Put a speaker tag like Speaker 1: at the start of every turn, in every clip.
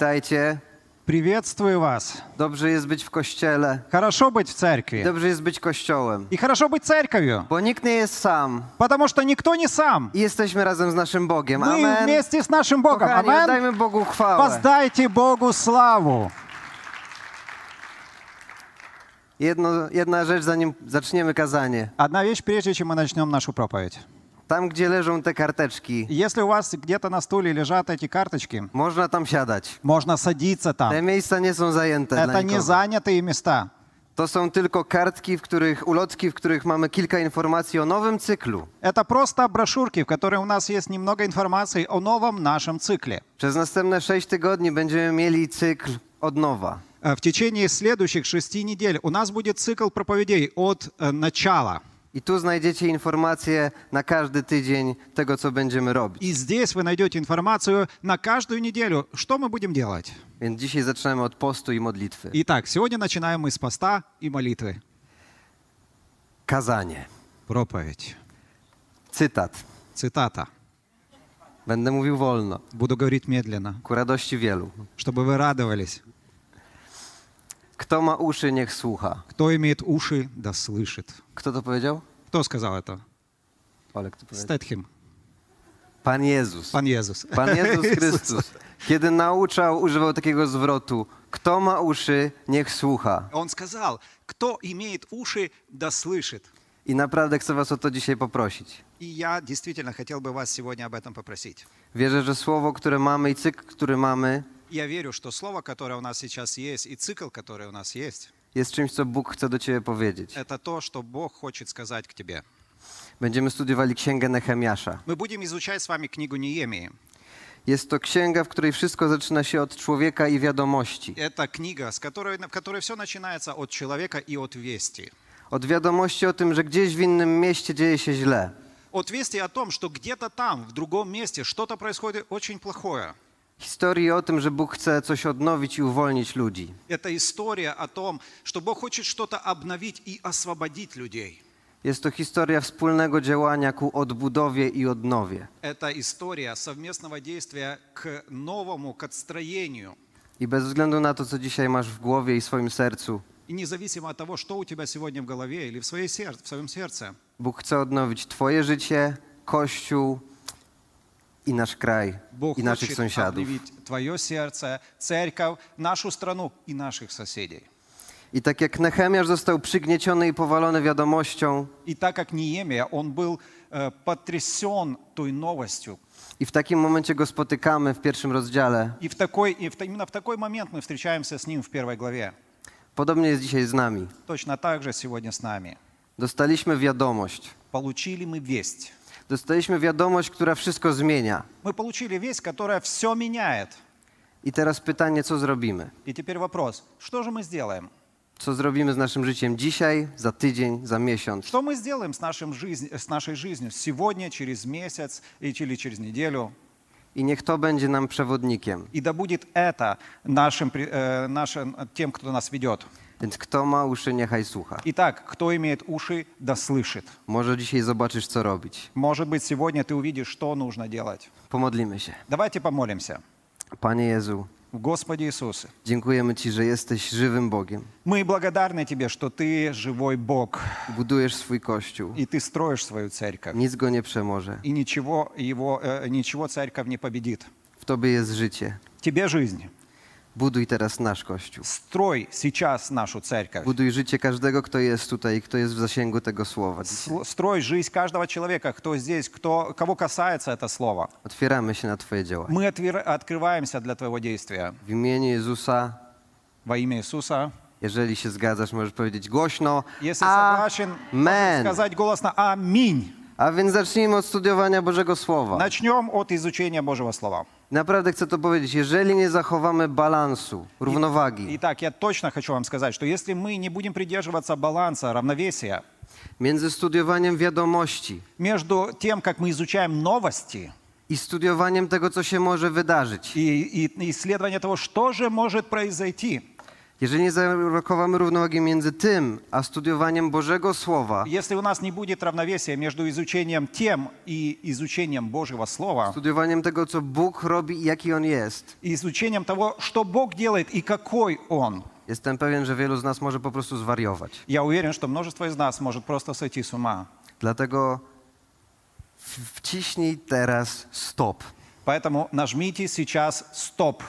Speaker 1: Witajcie.
Speaker 2: Приветствую вас.
Speaker 1: Dobrze jest być w kościele.
Speaker 2: Хорошо быть в церкви.
Speaker 1: Dobrze jest być kościołem.
Speaker 2: И хорошо быть церковью,
Speaker 1: Bo nikt nie jest sam.
Speaker 2: потому что никто не сам.
Speaker 1: I jesteśmy razem z naszym Bogiem.
Speaker 2: Мы
Speaker 1: Amen.
Speaker 2: вместе с нашим Богом.
Speaker 1: Kochani,
Speaker 2: Амен.
Speaker 1: oddajmy Bogu chwałę.
Speaker 2: Воздайте Богу славу.
Speaker 1: Jedno, jedna rzecz, zanim zaczniemy kazanie.
Speaker 2: Одна вещь, прежде чем мы начнем нашу проповедь.
Speaker 1: Tam, gdzie leżą te karteczki,
Speaker 2: Если у вас где-то на стуле лежат эти карточки,
Speaker 1: można tam siadać.
Speaker 2: можно sadiться
Speaker 1: Te
Speaker 2: там.
Speaker 1: miejsca nie są zajęte. dla
Speaker 2: Это не
Speaker 1: nikogo.
Speaker 2: занятые места.
Speaker 1: To są tylko kartki, w których ulotki, w których mamy kilka informacji o nowym cyklu.
Speaker 2: Это просто брошюрки, в которой у нас есть немного информации о новом нашем цикле.
Speaker 1: Przez następne sześć tygodni będziemy mieli cykl od nowa.
Speaker 2: Э, В течение следующих шести недель у нас будет цикл проповедей от э, начала.
Speaker 1: I tu znajdziecie informacje na każdy tydzień tego, co będziemy robić.
Speaker 2: И здесь вы найдете информацию на каждую неделю, что мы будем делать.
Speaker 1: Więc dzisiaj zaczynamy od postu i modlitwy.
Speaker 2: Итак, сегодня начинаем мы с поста и молитвы.
Speaker 1: Kazanie.
Speaker 2: Проповедь.
Speaker 1: Cytat.
Speaker 2: Цитата.
Speaker 1: Będę mówił wolno,
Speaker 2: Буду говорить медленно,
Speaker 1: ku radości wielu.
Speaker 2: чтобы вы радовались.
Speaker 1: Kto ma uszy, niech słucha.
Speaker 2: Кто имеет уши, да слышит.
Speaker 1: Kto to powiedział?
Speaker 2: Кто сказал это?
Speaker 1: Olek, to powiedział.
Speaker 2: Стэтхем.
Speaker 1: Pan Jezus.
Speaker 2: Пан Иисус.
Speaker 1: Pan Jezus Chrystus. Kiedy nauczał, używał takiego zwrotu. Kto ma uszy, niech słucha.
Speaker 2: Он сказал, кто имеет уши, да слышит.
Speaker 1: I naprawdę chcę was o to dzisiaj poprosić.
Speaker 2: И я действительно хотел бы вас сегодня об этом попросить.
Speaker 1: Wierzę, że słowo, które mamy i cykl, który mamy,
Speaker 2: Я верю, что слово, которое у нас сейчас есть, и цикл, который у нас есть,
Speaker 1: jest czymś, co Bóg chce do ciebie powiedzieć.
Speaker 2: это то, что Бог хочет сказать к тебе.
Speaker 1: Będziemy studiowali Księgę Nehemiasza.
Speaker 2: Мы будем изучать с вами книгу Неемии.
Speaker 1: Jest to księga, w której wszystko zaczyna się od człowieka i wiadomości.
Speaker 2: Это книга, с которой, в которой все начинается от человека и от вести.
Speaker 1: Od wiadomości o tym, że gdzieś w innym mieście dzieje się źle.
Speaker 2: От вести о том, что где-то там, в другом месте, что-то proисходит очень плохое.
Speaker 1: Historii o tym, że Bóg chce coś odnowić i uwolnić ludzi.
Speaker 2: Это история о том, что Бог хочет что-то обновить и освободить людей.
Speaker 1: Jest to historia wspólnego działania ku odbudowie i odnowie.
Speaker 2: Это история совместного действия к новому, к отстроению.
Speaker 1: I bez względu na to, co dzisiaj masz w głowie i swoim sercu,
Speaker 2: И независимо от того, что у тебя сегодня в голове или в, своей сер- в своем сердце,
Speaker 1: Bóg chce odnowić Twoje życie, Kościół i nasz kraj,
Speaker 2: Бог
Speaker 1: i naszych
Speaker 2: хочет
Speaker 1: sąsiadów.
Speaker 2: обновить твое сердце, церковь, нашу страну и наших соседей.
Speaker 1: I tak jak Nehemiasz został przygnieciony i powalony wiadomością,
Speaker 2: И так как Неемия, он был э, потрясен той новостью.
Speaker 1: I w takim momencie go spotykamy w pierwszym rozdziale.
Speaker 2: И, в такой, и в та- именно в такой момент мы встречаемся с ним в первой главе.
Speaker 1: Podobnie jest dzisiaj z nami.
Speaker 2: Точно так же сегодня с нами.
Speaker 1: Dostaliśmy wiadomość.
Speaker 2: Получили мы весть.
Speaker 1: Dostaliśmy wiadomość, która wszystko zmienia.
Speaker 2: Мы получили весть, которая все меняет.
Speaker 1: I teraz pytanie, co zrobimy?
Speaker 2: И теперь вопрос, что же мы сделаем?
Speaker 1: Co zrobimy z naszym życiem dzisiaj, za tydzień, za miesiąc?
Speaker 2: Что мы сделаем с, нашим жизнь, с нашей жизнью сегодня, через месяц и- или через неделю?
Speaker 1: I niech to będzie nam przewodnikiem.
Speaker 2: И да будет это нашим, при- э, нашим, тем, кто нас ведет.
Speaker 1: Więc kto ma uszy, niechaj słucha.
Speaker 2: Итак, кто имеет уши, да слышит.
Speaker 1: Może dzisiaj zobaczysz, co robić.
Speaker 2: Может быть, сегодня ты увидишь, что нужно делать.
Speaker 1: Pomodlimy się.
Speaker 2: Давайте помолимся.
Speaker 1: Panie Jezu,
Speaker 2: Господи Иисусе,
Speaker 1: dziękujemy Ci, że jesteś żywym Bogiem.
Speaker 2: мы благодарны Тебе, что Ты живой Бог,
Speaker 1: Budujesz swój kościół.
Speaker 2: и Ты строишь свою церковь.
Speaker 1: Nic go nie przemoże.
Speaker 2: И ничего, его, э, ничего церковь не победит.
Speaker 1: W Tobie jest życie.
Speaker 2: Тебе жизнь.
Speaker 1: Buduj teraz nasz kościół.
Speaker 2: Строй сейчас нашу церковь.
Speaker 1: Buduj życie każdego, kto jest tutaj, kto jest w zasięgu tego słowa.
Speaker 2: Сло- Строй жизнь каждого человека, кто здесь, кто, кого касается это слово.
Speaker 1: Otwieramy się na Twoje dzieła.
Speaker 2: Мы отвер- открываемся для Твоего действия.
Speaker 1: W imieniu Jezusa,
Speaker 2: Во имя Иисуса.
Speaker 1: jeżeli się zgadzasz, możesz powiedzieć głośno
Speaker 2: Если
Speaker 1: А,
Speaker 2: согласен, можно
Speaker 1: Amen.
Speaker 2: сказать голосно «Аминь».
Speaker 1: A więc zacznijmy od studiowania Bożego Słowa.
Speaker 2: Начнем от изучения Божьего Слова.
Speaker 1: Naprawdę chcę to powiedzieć. Jeżeli nie zachowamy balansu, równowagi
Speaker 2: Итак, я точно хочу вам сказать, что если мы не будем придерживаться баланса, равновесия
Speaker 1: między studiowaniem wiadomości
Speaker 2: между тем, как мы изучаем новости
Speaker 1: i studiowaniem tego, co się może wydarzyć,
Speaker 2: и, и исследование того, что же может произойти,
Speaker 1: Jeżeli nie zachowamy równowagi między tym, a studiowaniem Bożego Słowa,
Speaker 2: Если у нас не будет равновесия между изучением тем и изучением Божьего Слова,
Speaker 1: studiowaniem tego, co Bóg robi i jaki On jest,
Speaker 2: и изучением того, что Бог делает и какой Он,
Speaker 1: jestem pewien, że wielu z nas może po prostu zwariować.
Speaker 2: я уверен, что множество из нас может просто сойти с ума.
Speaker 1: Dlatego w- wciśnij teraz stop.
Speaker 2: Поэтому нажмите сейчас «Стоп».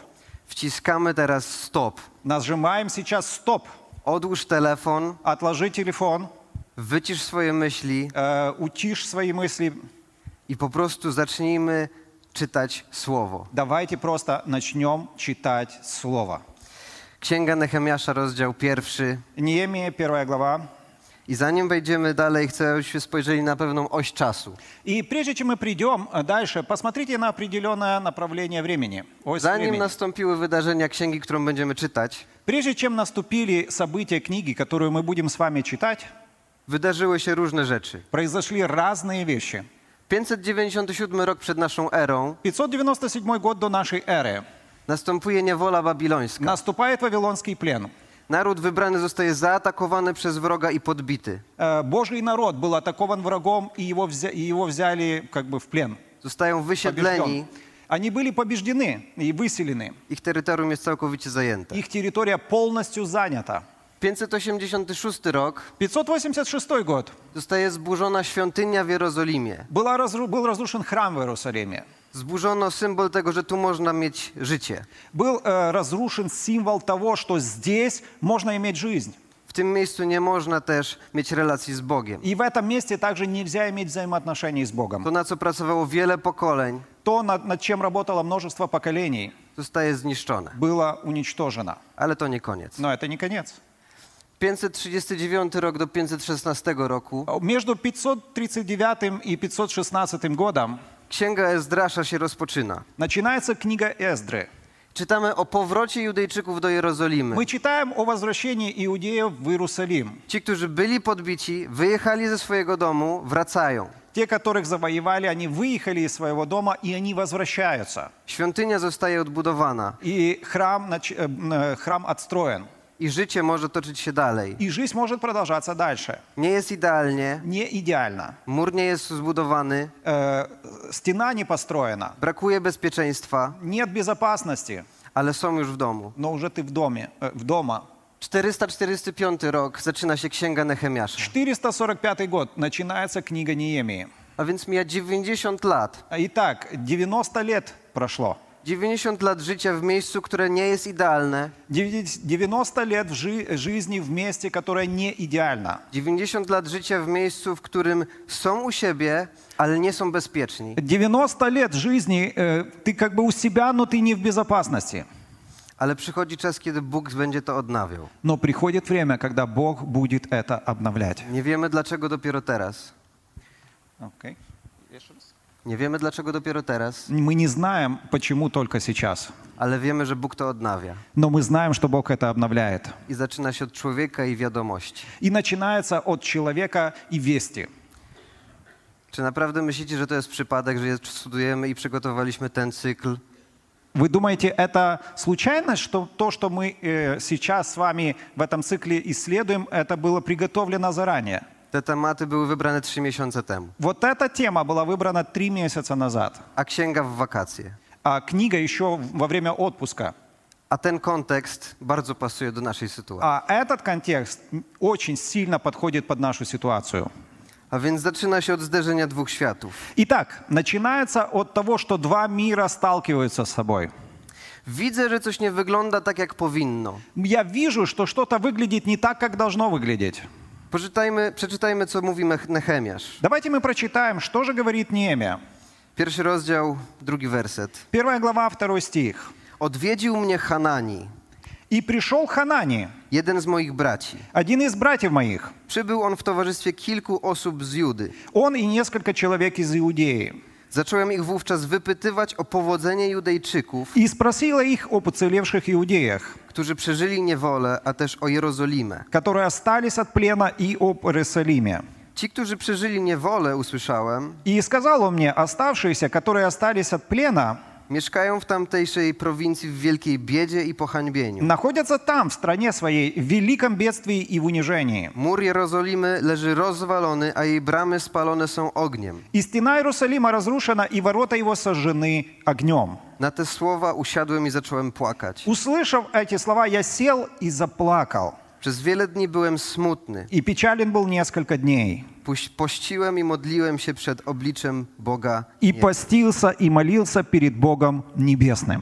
Speaker 1: Wciskamy teraz stop.
Speaker 2: Нажимаем сейчас «Стоп».
Speaker 1: Odłóż telefon,
Speaker 2: Отложи телефон,
Speaker 1: wycisz swoje myśli
Speaker 2: э, утишь свои мысли.
Speaker 1: i po prostu zacznijmy czytać Słowo.
Speaker 2: Давайте просто начнем читать Слово.
Speaker 1: Księga Nehemiasza, rozdział pierwszy.
Speaker 2: Неемия, первая глава.
Speaker 1: I zanim wejdziemy dalej, chcę, abyśmy spojrzeli na pewną oś czasu.
Speaker 2: И прежде чем мы придем э, дальше, посмотрите на определенное направление времени. ось
Speaker 1: Zanim
Speaker 2: времени.
Speaker 1: nastąpiły wydarzenia księgi, którą będziemy czytać,
Speaker 2: Прежде чем наступили события книги, которую мы будем с вами читать,
Speaker 1: wydarzyły się różne rzeczy.
Speaker 2: произошли разные вещи.
Speaker 1: 597 rok przed naszą erą
Speaker 2: 597 год до нашей эры
Speaker 1: następuje niewola babilońska.
Speaker 2: наступает Вавилонский плен.
Speaker 1: Naród wybrany zostaje zaatakowany przez wroga i podbity.
Speaker 2: Э, Божий народ был атакован врагом, и его, взя- и его взяли как бы в плен.
Speaker 1: Zostają wysiedleni,
Speaker 2: побежден. Они были побеждены и выселены.
Speaker 1: ich terytorium jest całkowicie zajęte.
Speaker 2: Их территория полностью занята.
Speaker 1: 586 rok
Speaker 2: 586 год.
Speaker 1: zostaje zburzona świątynia w Jerozolimie.
Speaker 2: Была разру- был разрушен храм в Иерусалиме.
Speaker 1: Zburzono symbol tego, że tu można mieć życie.
Speaker 2: Был э, разрушен символ того, что здесь можно иметь жизнь.
Speaker 1: W tym miejscu nie można też mieć relacji z Bogiem.
Speaker 2: И в этом месте также nельзя иметь взаимоотношений с Богом.
Speaker 1: To, na co pracowało wiele pokoleń,
Speaker 2: То, над, над чем работало множество поколений,
Speaker 1: zostaje zniszczone.
Speaker 2: было уничтожено.
Speaker 1: Ale to nie koniec.
Speaker 2: Но это не конец.
Speaker 1: 539 rok do 516 roku
Speaker 2: Между 539 и 516 годом
Speaker 1: Księga Ezdrasza się rozpoczyna.
Speaker 2: начинается книга Эздры.
Speaker 1: Czytamy o powrocie Judejczyków do Jerozolimy.
Speaker 2: Мы читаем о возвращении иудеев в Иерусалим.
Speaker 1: Ci, którzy byli podbici, wyjechali ze swojego domu, wracają.
Speaker 2: Те, которых завоевали, они выехали из своего дома, и они возвращаются.
Speaker 1: Świątynia zostaje odbudowana
Speaker 2: И храм, нач- э, м, э, храм отстроен.
Speaker 1: i życie może toczyć się dalej.
Speaker 2: И жизнь может продолжаться дальше.
Speaker 1: Nie jest idealnie,
Speaker 2: Не идеально.
Speaker 1: mur nie jest zbudowany,
Speaker 2: Э, стена не построена.
Speaker 1: brakuje bezpieczeństwa,
Speaker 2: Нет безопасности,
Speaker 1: ale są już w domu.
Speaker 2: но уже ты в доме, э, в дома.
Speaker 1: 445 rok zaczyna się Księga Nehemiasza,
Speaker 2: 445 год начинается книга Неемии.
Speaker 1: a więc mija 90 lat.
Speaker 2: Итак, 90 лет прошло.
Speaker 1: 90 lat życia w miejscu, które nie jest idealne,
Speaker 2: 90 лет в жи- жизни в месте, которое не идеально.
Speaker 1: 90 lat życia w miejscu, w którym są u siebie, ale nie są bezpieczni.
Speaker 2: 90 лет жизни э, ты как бы у себя, но ты не в безопасности.
Speaker 1: Ale przychodzi czas, kiedy Bóg będzie to odnawiał.
Speaker 2: Но приходит время, когда Бог будет это обновлять.
Speaker 1: Nie wiemy dlaczego dopiero teraz. Nie wiemy dlaczego dopiero teraz,
Speaker 2: Мы не знаем, почему только сейчас,
Speaker 1: ale wiemy, że Bóg to odnawia.
Speaker 2: но мы знаем, что Бог это обновляет.
Speaker 1: I zaczyna się od człowieka i wiadomości.
Speaker 2: И начинается от человека и вести.
Speaker 1: Czy naprawdę myślicie, że to jest przypadek, że je studujemy i przygotowaliśmy ten cykl?
Speaker 2: Вы думаете, это случайность, что то, что мы э, сейчас с вами в этом цикле исследуем, это было приготовлено заранее?
Speaker 1: Te tematy były wybrane trzy miesiące temu,
Speaker 2: Вот эта тема была выбрана три месяца назад,
Speaker 1: a księga w wakacje.
Speaker 2: а книга еще во время отпуска.
Speaker 1: A ten kontekst bardzo pasuje do naszej sytuacji.
Speaker 2: А этот контекст очень сильно подходит под нашу ситуацию.
Speaker 1: A więc zaczyna się od zderzenia dwóch światów.
Speaker 2: Итак, начинается от того, что два мира сталкиваются с собой.
Speaker 1: Widzę, że coś nie wygląda tak, jak powinno.
Speaker 2: Я вижу, что что-то выглядит не так, как должно выглядеть.
Speaker 1: Poczytajmy, przeczytajmy, co mówi Mech- Nehemiasz.
Speaker 2: Давайте мы прочитаем, что же говорит Неемия.
Speaker 1: Pierwszy rozdział, drugi werset.
Speaker 2: Первая глава, второй стих.
Speaker 1: Odwiedził mnie Hanani,
Speaker 2: «И пришел Ханани,
Speaker 1: jeden z moich braci.
Speaker 2: один из братьев моих,
Speaker 1: Przybył on w towarzystwie kilku osób z Judy.
Speaker 2: он и несколько человек из Иудеи,
Speaker 1: Zacząłem ich wówczas wypytywać o powodzenie Judejczyków,
Speaker 2: и спросила их об уцелевших иудеях,
Speaker 1: którzy przeżyli niewolę, a też o Jerozolimę.
Speaker 2: которые остались от плена, и об Иерусалиме.
Speaker 1: Ci, którzy przeżyli niewolę, usłyszałem,
Speaker 2: И сказал он мне, оставшиеся, которые остались от плена,
Speaker 1: Mieszkają w tamtejszej prowincji w wielkiej biedzie i pohańbieniu.
Speaker 2: находятся там, в стране своей, в великом бедствии и в унижении.
Speaker 1: Mur Jerozolimy leży rozwalony, a jej bramy spalone są ogniem.
Speaker 2: И стена Иерусалима разрушена, и ворота его сожжены огнем.
Speaker 1: Na te słowa usiadłem i zacząłem płakać.
Speaker 2: Услышав эти слова, я сел и заплакал.
Speaker 1: Przez wiele dni byłem smutny.
Speaker 2: И печален был несколько дней.
Speaker 1: Puś- Pościłem i modliłem się przed obliczem Boga.
Speaker 2: И
Speaker 1: Nie-
Speaker 2: постился и молился перед Богом Небесным.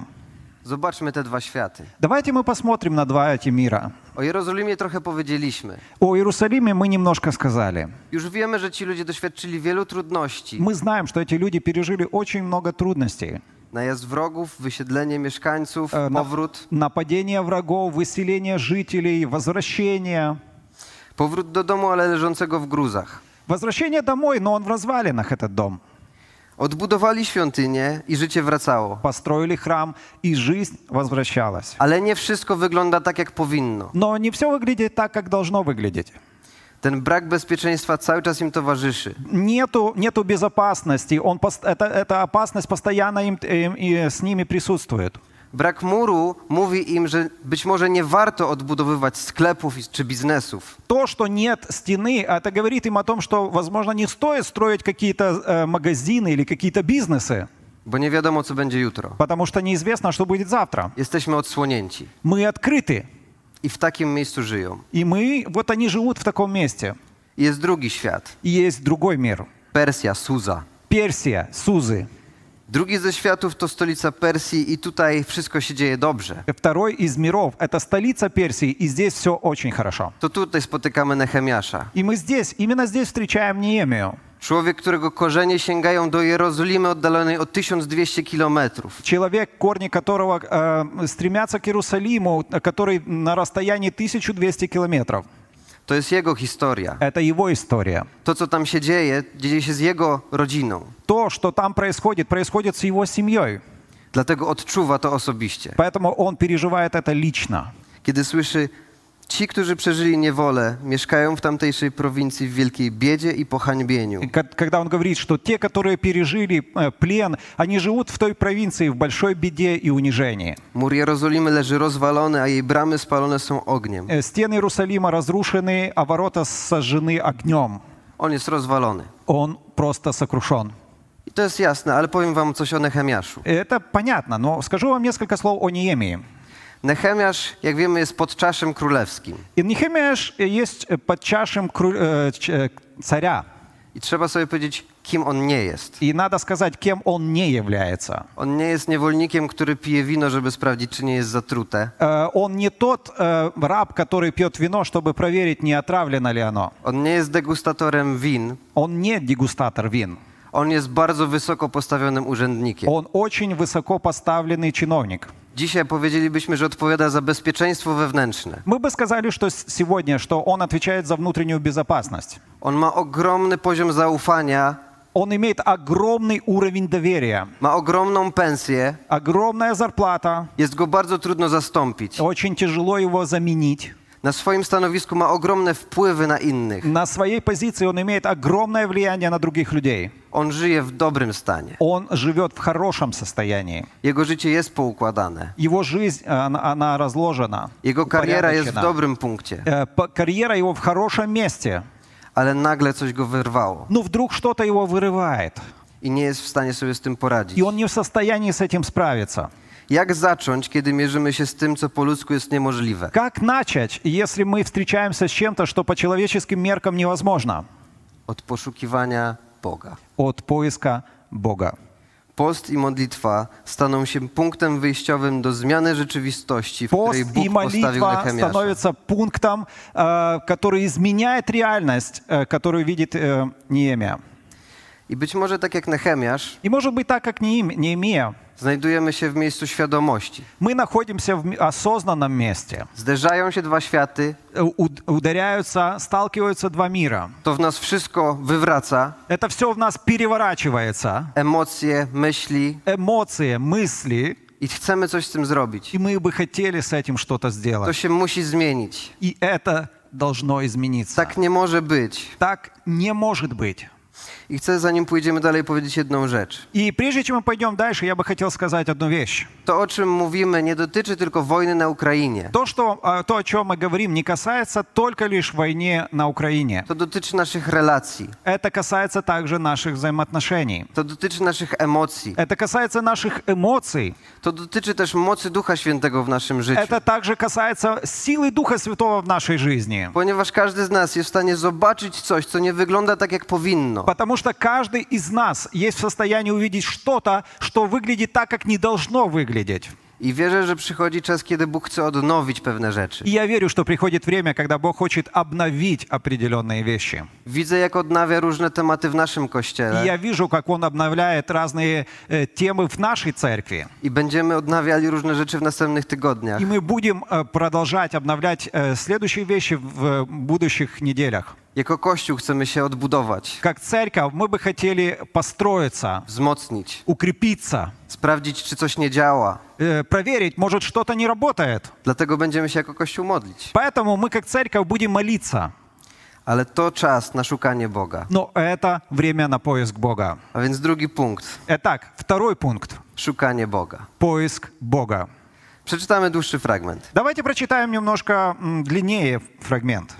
Speaker 1: Zobaczmy te dwa światy.
Speaker 2: Давайте мы посмотрим на два эти мира.
Speaker 1: O Jerozolimie trochę powiedzieliśmy.
Speaker 2: О Иерусалиме мы немножко сказали.
Speaker 1: Już wiemy, że ci ludzie doświadczyli wielu trudności.
Speaker 2: Мы знаем, что эти люди пережили очень много трудностей.
Speaker 1: Najazd wrogów, wysiedlenie mieszkańców,
Speaker 2: Э, на-
Speaker 1: powrót.
Speaker 2: Нападение врагов, выселение жителей, возвращение.
Speaker 1: Powrót do domu, ale leżącego w gruzach.
Speaker 2: Возвращение домой, но он в развалинах, этот дом.
Speaker 1: Odbudowali świątynię i życie wracało.
Speaker 2: Построили храм, и жизнь возвращалась.
Speaker 1: Ale nie wszystko wygląda tak, jak powinno.
Speaker 2: Но не все выглядит так, как должно выглядеть.
Speaker 1: Ten brak bezpieczeństwa cały czas im towarzyszy.
Speaker 2: Нету, нету безопасности. Он, пос- это, эта опасность постоянно им, им- и с ними присутствует.
Speaker 1: Brak muru mówi im, że być może nie warto odbudowywać sklepów i- czy biznesów.
Speaker 2: То, что нет стены, это говорит им о том, что, возможно, не стоит строить какие-то э, магазины или какие-то бизнесы,
Speaker 1: Bo nie wiadomo, co będzie jutro.
Speaker 2: потому что неизвестно, что будет завтра.
Speaker 1: Jesteśmy odsłonięci
Speaker 2: Мы открыты,
Speaker 1: i w takim miejscu żyją.
Speaker 2: и мы, вот они живут в таком месте.
Speaker 1: Jest drugi świat.
Speaker 2: И есть другой мир.
Speaker 1: Persja, Suza.
Speaker 2: Персия, Сузы.
Speaker 1: Drugi ze światów to stolica Persji i tutaj wszystko się dzieje dobrze.
Speaker 2: Второй из миров – это столица Персии, и здесь все очень хорошо.
Speaker 1: To tutaj spotykamy Nehemiasza.
Speaker 2: И мы здесь, именно здесь встречаем Неемию,
Speaker 1: Człowiek, którego korzenie sięgają do Jerozolimy oddalonej o 1200 kilometrów.
Speaker 2: человек, корни которого э, стремятся к Иерусалиму, который на расстоянии 1200 километров.
Speaker 1: To jest jego historia.
Speaker 2: Это его история.
Speaker 1: To, co tam się dzieje, dzieje się z jego rodziną.
Speaker 2: То, что там происходит, происходит с его семьей.
Speaker 1: Dlatego odczuwa to osobiście.
Speaker 2: Поэтому он переживает это лично.
Speaker 1: Kiedy słyszy, ci, którzy przeżyli niewolę, mieszkają w tamtejszej prowincji w wielkiej biedzie i pohańbieniu.
Speaker 2: И ко- Когда он говорит, что те, которые пережили э, плен, они живут в той провинции в большой беде и унижении.
Speaker 1: Mur Jerozolimy leży rozwalony, a jej bramy spalone są ogniem.
Speaker 2: Э, Стены Иерусалима разрушены, а ворота сожжены огнем.
Speaker 1: On jest rozwalony.
Speaker 2: Он просто сокрушен.
Speaker 1: I to jest jasne, ale powiem wam coś o Nehemiaszu.
Speaker 2: Это понятно, но скажу вам несколько слов о Неемии.
Speaker 1: Nehemiasz, jak wiemy, jest pod czaszem królewskim.
Speaker 2: И Нехемиаш есть э, под чашем кру- э, ч- э, царя.
Speaker 1: I trzeba sobie powiedzieć, kim on nie jest.
Speaker 2: И надо сказать, кем он не является.
Speaker 1: On nie jest niewolnikiem, który pije wino, żeby sprawdzić, czy nie jest zatrute.
Speaker 2: Э, Он не тот э, раб, который пьет вино, чтобы проверить, не отравлено ли оно.
Speaker 1: On nie jest degustatorem win.
Speaker 2: Он не дегустатор вин.
Speaker 1: On jest bardzo wysoko postawionym urzędnikiem.
Speaker 2: Он очень высоко поставленный чиновник.
Speaker 1: Dzisiaj powiedzielibyśmy, że odpowiada za bezpieczeństwo wewnętrzne.
Speaker 2: Мы бы сказали, что с- сегодня, что он отвечает за внутреннюю безопасность.
Speaker 1: On ma ogromny poziom zaufania,
Speaker 2: Он имеет огромный уровень доверия,
Speaker 1: ma ogromną pensję.
Speaker 2: огромная зарплата,
Speaker 1: Jest go bardzo trudno zastąpić.
Speaker 2: очень тяжело его заменить.
Speaker 1: Na swoim stanowisku ma ogromne wpływy na innych.
Speaker 2: На своей позиции он имеет огромное влияние на других людей.
Speaker 1: On żyje w dobrym stanie.
Speaker 2: Он живет в хорошем состоянии.
Speaker 1: Jego życie jest poukładane.
Speaker 2: Его жизнь, она, она разложена.
Speaker 1: Jego kariera jest w
Speaker 2: упорядочена.
Speaker 1: dobrym punkcie,
Speaker 2: Э, по- Карьера его в хорошем месте.
Speaker 1: ale nagle coś go wyrwało
Speaker 2: Но вдруг что-то его вырывает.
Speaker 1: i nie jest w stanie sobie z tym
Speaker 2: И
Speaker 1: poradzić.
Speaker 2: он не в состоянии с этим справиться.
Speaker 1: Jak zacząć, kiedy mierzymy się z tym, co po ludzku jest niemożliwe?
Speaker 2: Как начать, если мы встречаемся с чем-то, что по человеческим меркам невозможно?
Speaker 1: Od poszukiwania Boga.
Speaker 2: От поиска Бога.
Speaker 1: Post i modlitwa staną się punktem wyjściowym do zmiany rzeczywistości, w
Speaker 2: Пост
Speaker 1: której
Speaker 2: и
Speaker 1: Bóg postawił
Speaker 2: молитва
Speaker 1: Nehemiasza.
Speaker 2: становятся пунктом, э, который изменяет реальность, э, которую видит э, Неемия.
Speaker 1: I być może так jak Nehemiasz,
Speaker 2: И может быть так, как Неем- Неемия,
Speaker 1: znajdujemy się w miejscu świadomości.
Speaker 2: мы находимся в м- осознанном месте.
Speaker 1: Zderzają się dwa światy,
Speaker 2: Э, уд- Ударяются, сталкиваются два мира.
Speaker 1: to w nas wszystko wywraca,
Speaker 2: Это все в нас переворачивается.
Speaker 1: emocje, myśli
Speaker 2: Эмоции, мысли,
Speaker 1: i chcemy coś z tym zrobić.
Speaker 2: и мы бы хотели с этим что-то сделать.
Speaker 1: To się musi zmienić.
Speaker 2: И это должно измениться.
Speaker 1: Tak nie może być.
Speaker 2: Так не может быть.
Speaker 1: I chcę, zanim pójdziemy dalej, powiedzieć jedną rzecz.
Speaker 2: И прежде чем мы пойдем дальше, я бы хотел сказать одну вещь.
Speaker 1: To, o czym mówimy, nie dotyczy tylko wojny na Ukrainie.
Speaker 2: То, что, э, то, о чем мы говорим, не касается только лишь войны на Украине.
Speaker 1: To dotyczy naszych relacji.
Speaker 2: Это касается также наших взаимоотношений.
Speaker 1: To dotyczy naszych emocji.
Speaker 2: Это касается наших эмоций.
Speaker 1: To dotyczy też mocy Ducha Świętego w naszym życiu.
Speaker 2: Это также касается силы Духа Святого в нашей жизни.
Speaker 1: Ponieważ każdy z nas jest w stanie zobaczyć coś, co nie wygląda tak, jak powinno.
Speaker 2: Потому что каждый из нас есть в состоянии увидеть что-то, что wyглядит так, как не должно выглядеть.
Speaker 1: I wierzę, że przychodzi czas, kiedy Bóg chce odnowić pewne rzeczy.
Speaker 2: И я верю, что приходит время, когда Бог хочет обновить определенные вещи.
Speaker 1: Widzę, jak odnawia różne tematy w naszym
Speaker 2: И
Speaker 1: kościele
Speaker 2: я вижу, как Он обновляет разные э, темы в нашей церкви.
Speaker 1: i będziemy odnawiali różne rzeczy w następnych tygodniach.
Speaker 2: И мы будем э, продолжать обновлять э, следующие вещи в э, будущих неделях.
Speaker 1: Jako Kościół chcemy się odbudować,
Speaker 2: Как церковь мы бы хотели построиться,
Speaker 1: wzmocnić,
Speaker 2: укрепиться,
Speaker 1: sprawdzić, czy coś nie działa.
Speaker 2: э, проверить, может что-то не работает.
Speaker 1: Dlatego będziemy się jako Kościół modlić.
Speaker 2: Поэтому мы как церковь будем молиться.
Speaker 1: Ale to czas na szukanie Boga.
Speaker 2: Но это время на поиск Бога.
Speaker 1: A więc drugi punkt
Speaker 2: Итак, второй пункт –
Speaker 1: szukanie Boga.
Speaker 2: поиск Бога.
Speaker 1: Przeczytamy dłuższy fragment.
Speaker 2: Давайте прочитаем немножко м, длиннее фрагмент.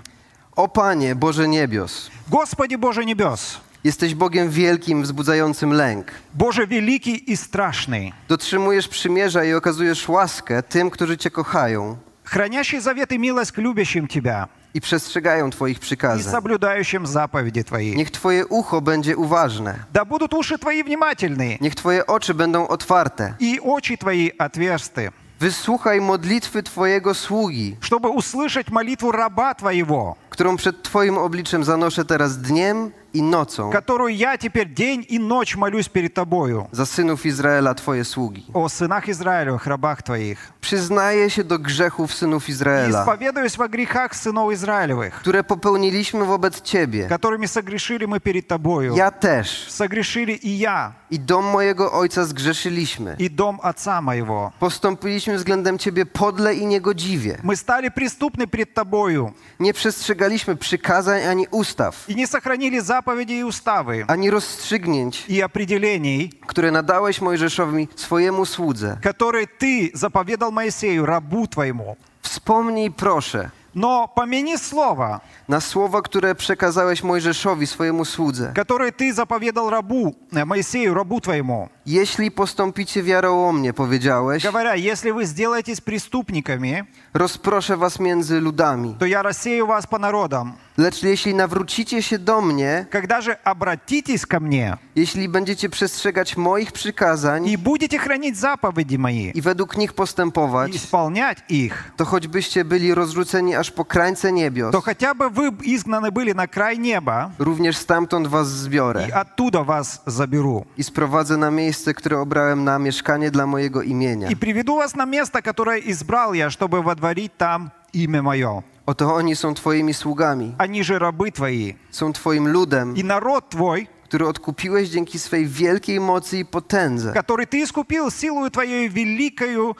Speaker 1: O Panie, Boże niebios,
Speaker 2: «Господи Боже небес,
Speaker 1: jesteś Bogiem wielkim, wzbudzającym lęk.
Speaker 2: Боже великий и страшный,
Speaker 1: Dotrzymujesz przymierza i okazujesz łaskę tym, którzy Cię kochają
Speaker 2: хранящий завет и милость к любящим Тебя
Speaker 1: i przestrzegają Twoich
Speaker 2: и
Speaker 1: przykazań.
Speaker 2: соблюдающим заповеди Твои.
Speaker 1: Niech Twoje ucho będzie uważne,
Speaker 2: Да будут уши Твои внимательны
Speaker 1: niech Twoje oczy będą otwarte.
Speaker 2: и очи Твои отверсты,
Speaker 1: Wysłuchaj modlitwy Twojego sługi,
Speaker 2: чтобы услышать молитву раба Твоего,
Speaker 1: którą przed Twoim obliczem zanoszę teraz dniem i nocą
Speaker 2: которую я теперь день и ночь молюсь перед Тобою,
Speaker 1: za synów Izraela, Twoje sługi.
Speaker 2: о сынах Израилевых, рабах Твоих,
Speaker 1: Przyznaję się do grzechów synów
Speaker 2: и
Speaker 1: Izraela,
Speaker 2: исповедуюсь во грехах сынов Израилевых,
Speaker 1: które popełniliśmy wobec Ciebie.
Speaker 2: которыми согрешили мы перед Тобою,
Speaker 1: Ja też
Speaker 2: согрешили и я,
Speaker 1: i dom mojego ojca zgrzeszyliśmy.
Speaker 2: и дом отца моего.
Speaker 1: Postąpiliśmy względem Ciebie podle i niegodziwie.
Speaker 2: Мы стали преступны перед Тобою
Speaker 1: Nie przestrzegaliśmy przykazań ani ustaw,
Speaker 2: и не сохранили заповеди и уставы
Speaker 1: ani rozstrzygnięć,
Speaker 2: и определений,
Speaker 1: które nadałeś Mojżeszowi swojemu słudze.
Speaker 2: которые Ты заповедал Моисею, рабу Твоему.
Speaker 1: Wspomnij proszę
Speaker 2: Но помяни слово,
Speaker 1: na słowa, które przekazałeś Mojżeszowi swojemu słudze.
Speaker 2: которое Ты заповедал рабу э, Моисею, рабу Твоему,
Speaker 1: Jeśli postąpicie wiarołomnie, powiedziałeś,
Speaker 2: говоря, если вы сделаетесь преступниками,
Speaker 1: rozproszę was między ludami.
Speaker 2: то я рассею вас по народам.
Speaker 1: Lecz jeśli nawrócicie się do mnie,
Speaker 2: Когда же обратитесь ко мне
Speaker 1: jeśli będziecie przestrzegać moich przykazań
Speaker 2: и будете хранить заповеди мои
Speaker 1: i według nich
Speaker 2: и
Speaker 1: postępować,
Speaker 2: исполнять их,
Speaker 1: to choćbyście byli rozrzuceni aż po krańce niebios,
Speaker 2: то хотя бы вы б изгнаны были на край неба,
Speaker 1: również stamtąd was
Speaker 2: и
Speaker 1: zbiorę
Speaker 2: оттуда вас заберу.
Speaker 1: i sprowadzę na miejsce, które obrałem na mieszkanie dla mojego imienia.
Speaker 2: И приведу вас на место, которое избрал я, чтобы водворить там имя мое.
Speaker 1: Oto oni są twoimi sługami,
Speaker 2: Они же рабы твои,
Speaker 1: są twoim ludem,
Speaker 2: и народ твой,
Speaker 1: który odkupiłeś dzięki swej wielkiej mocy i potędze.
Speaker 2: который ты искупил силою твоей великою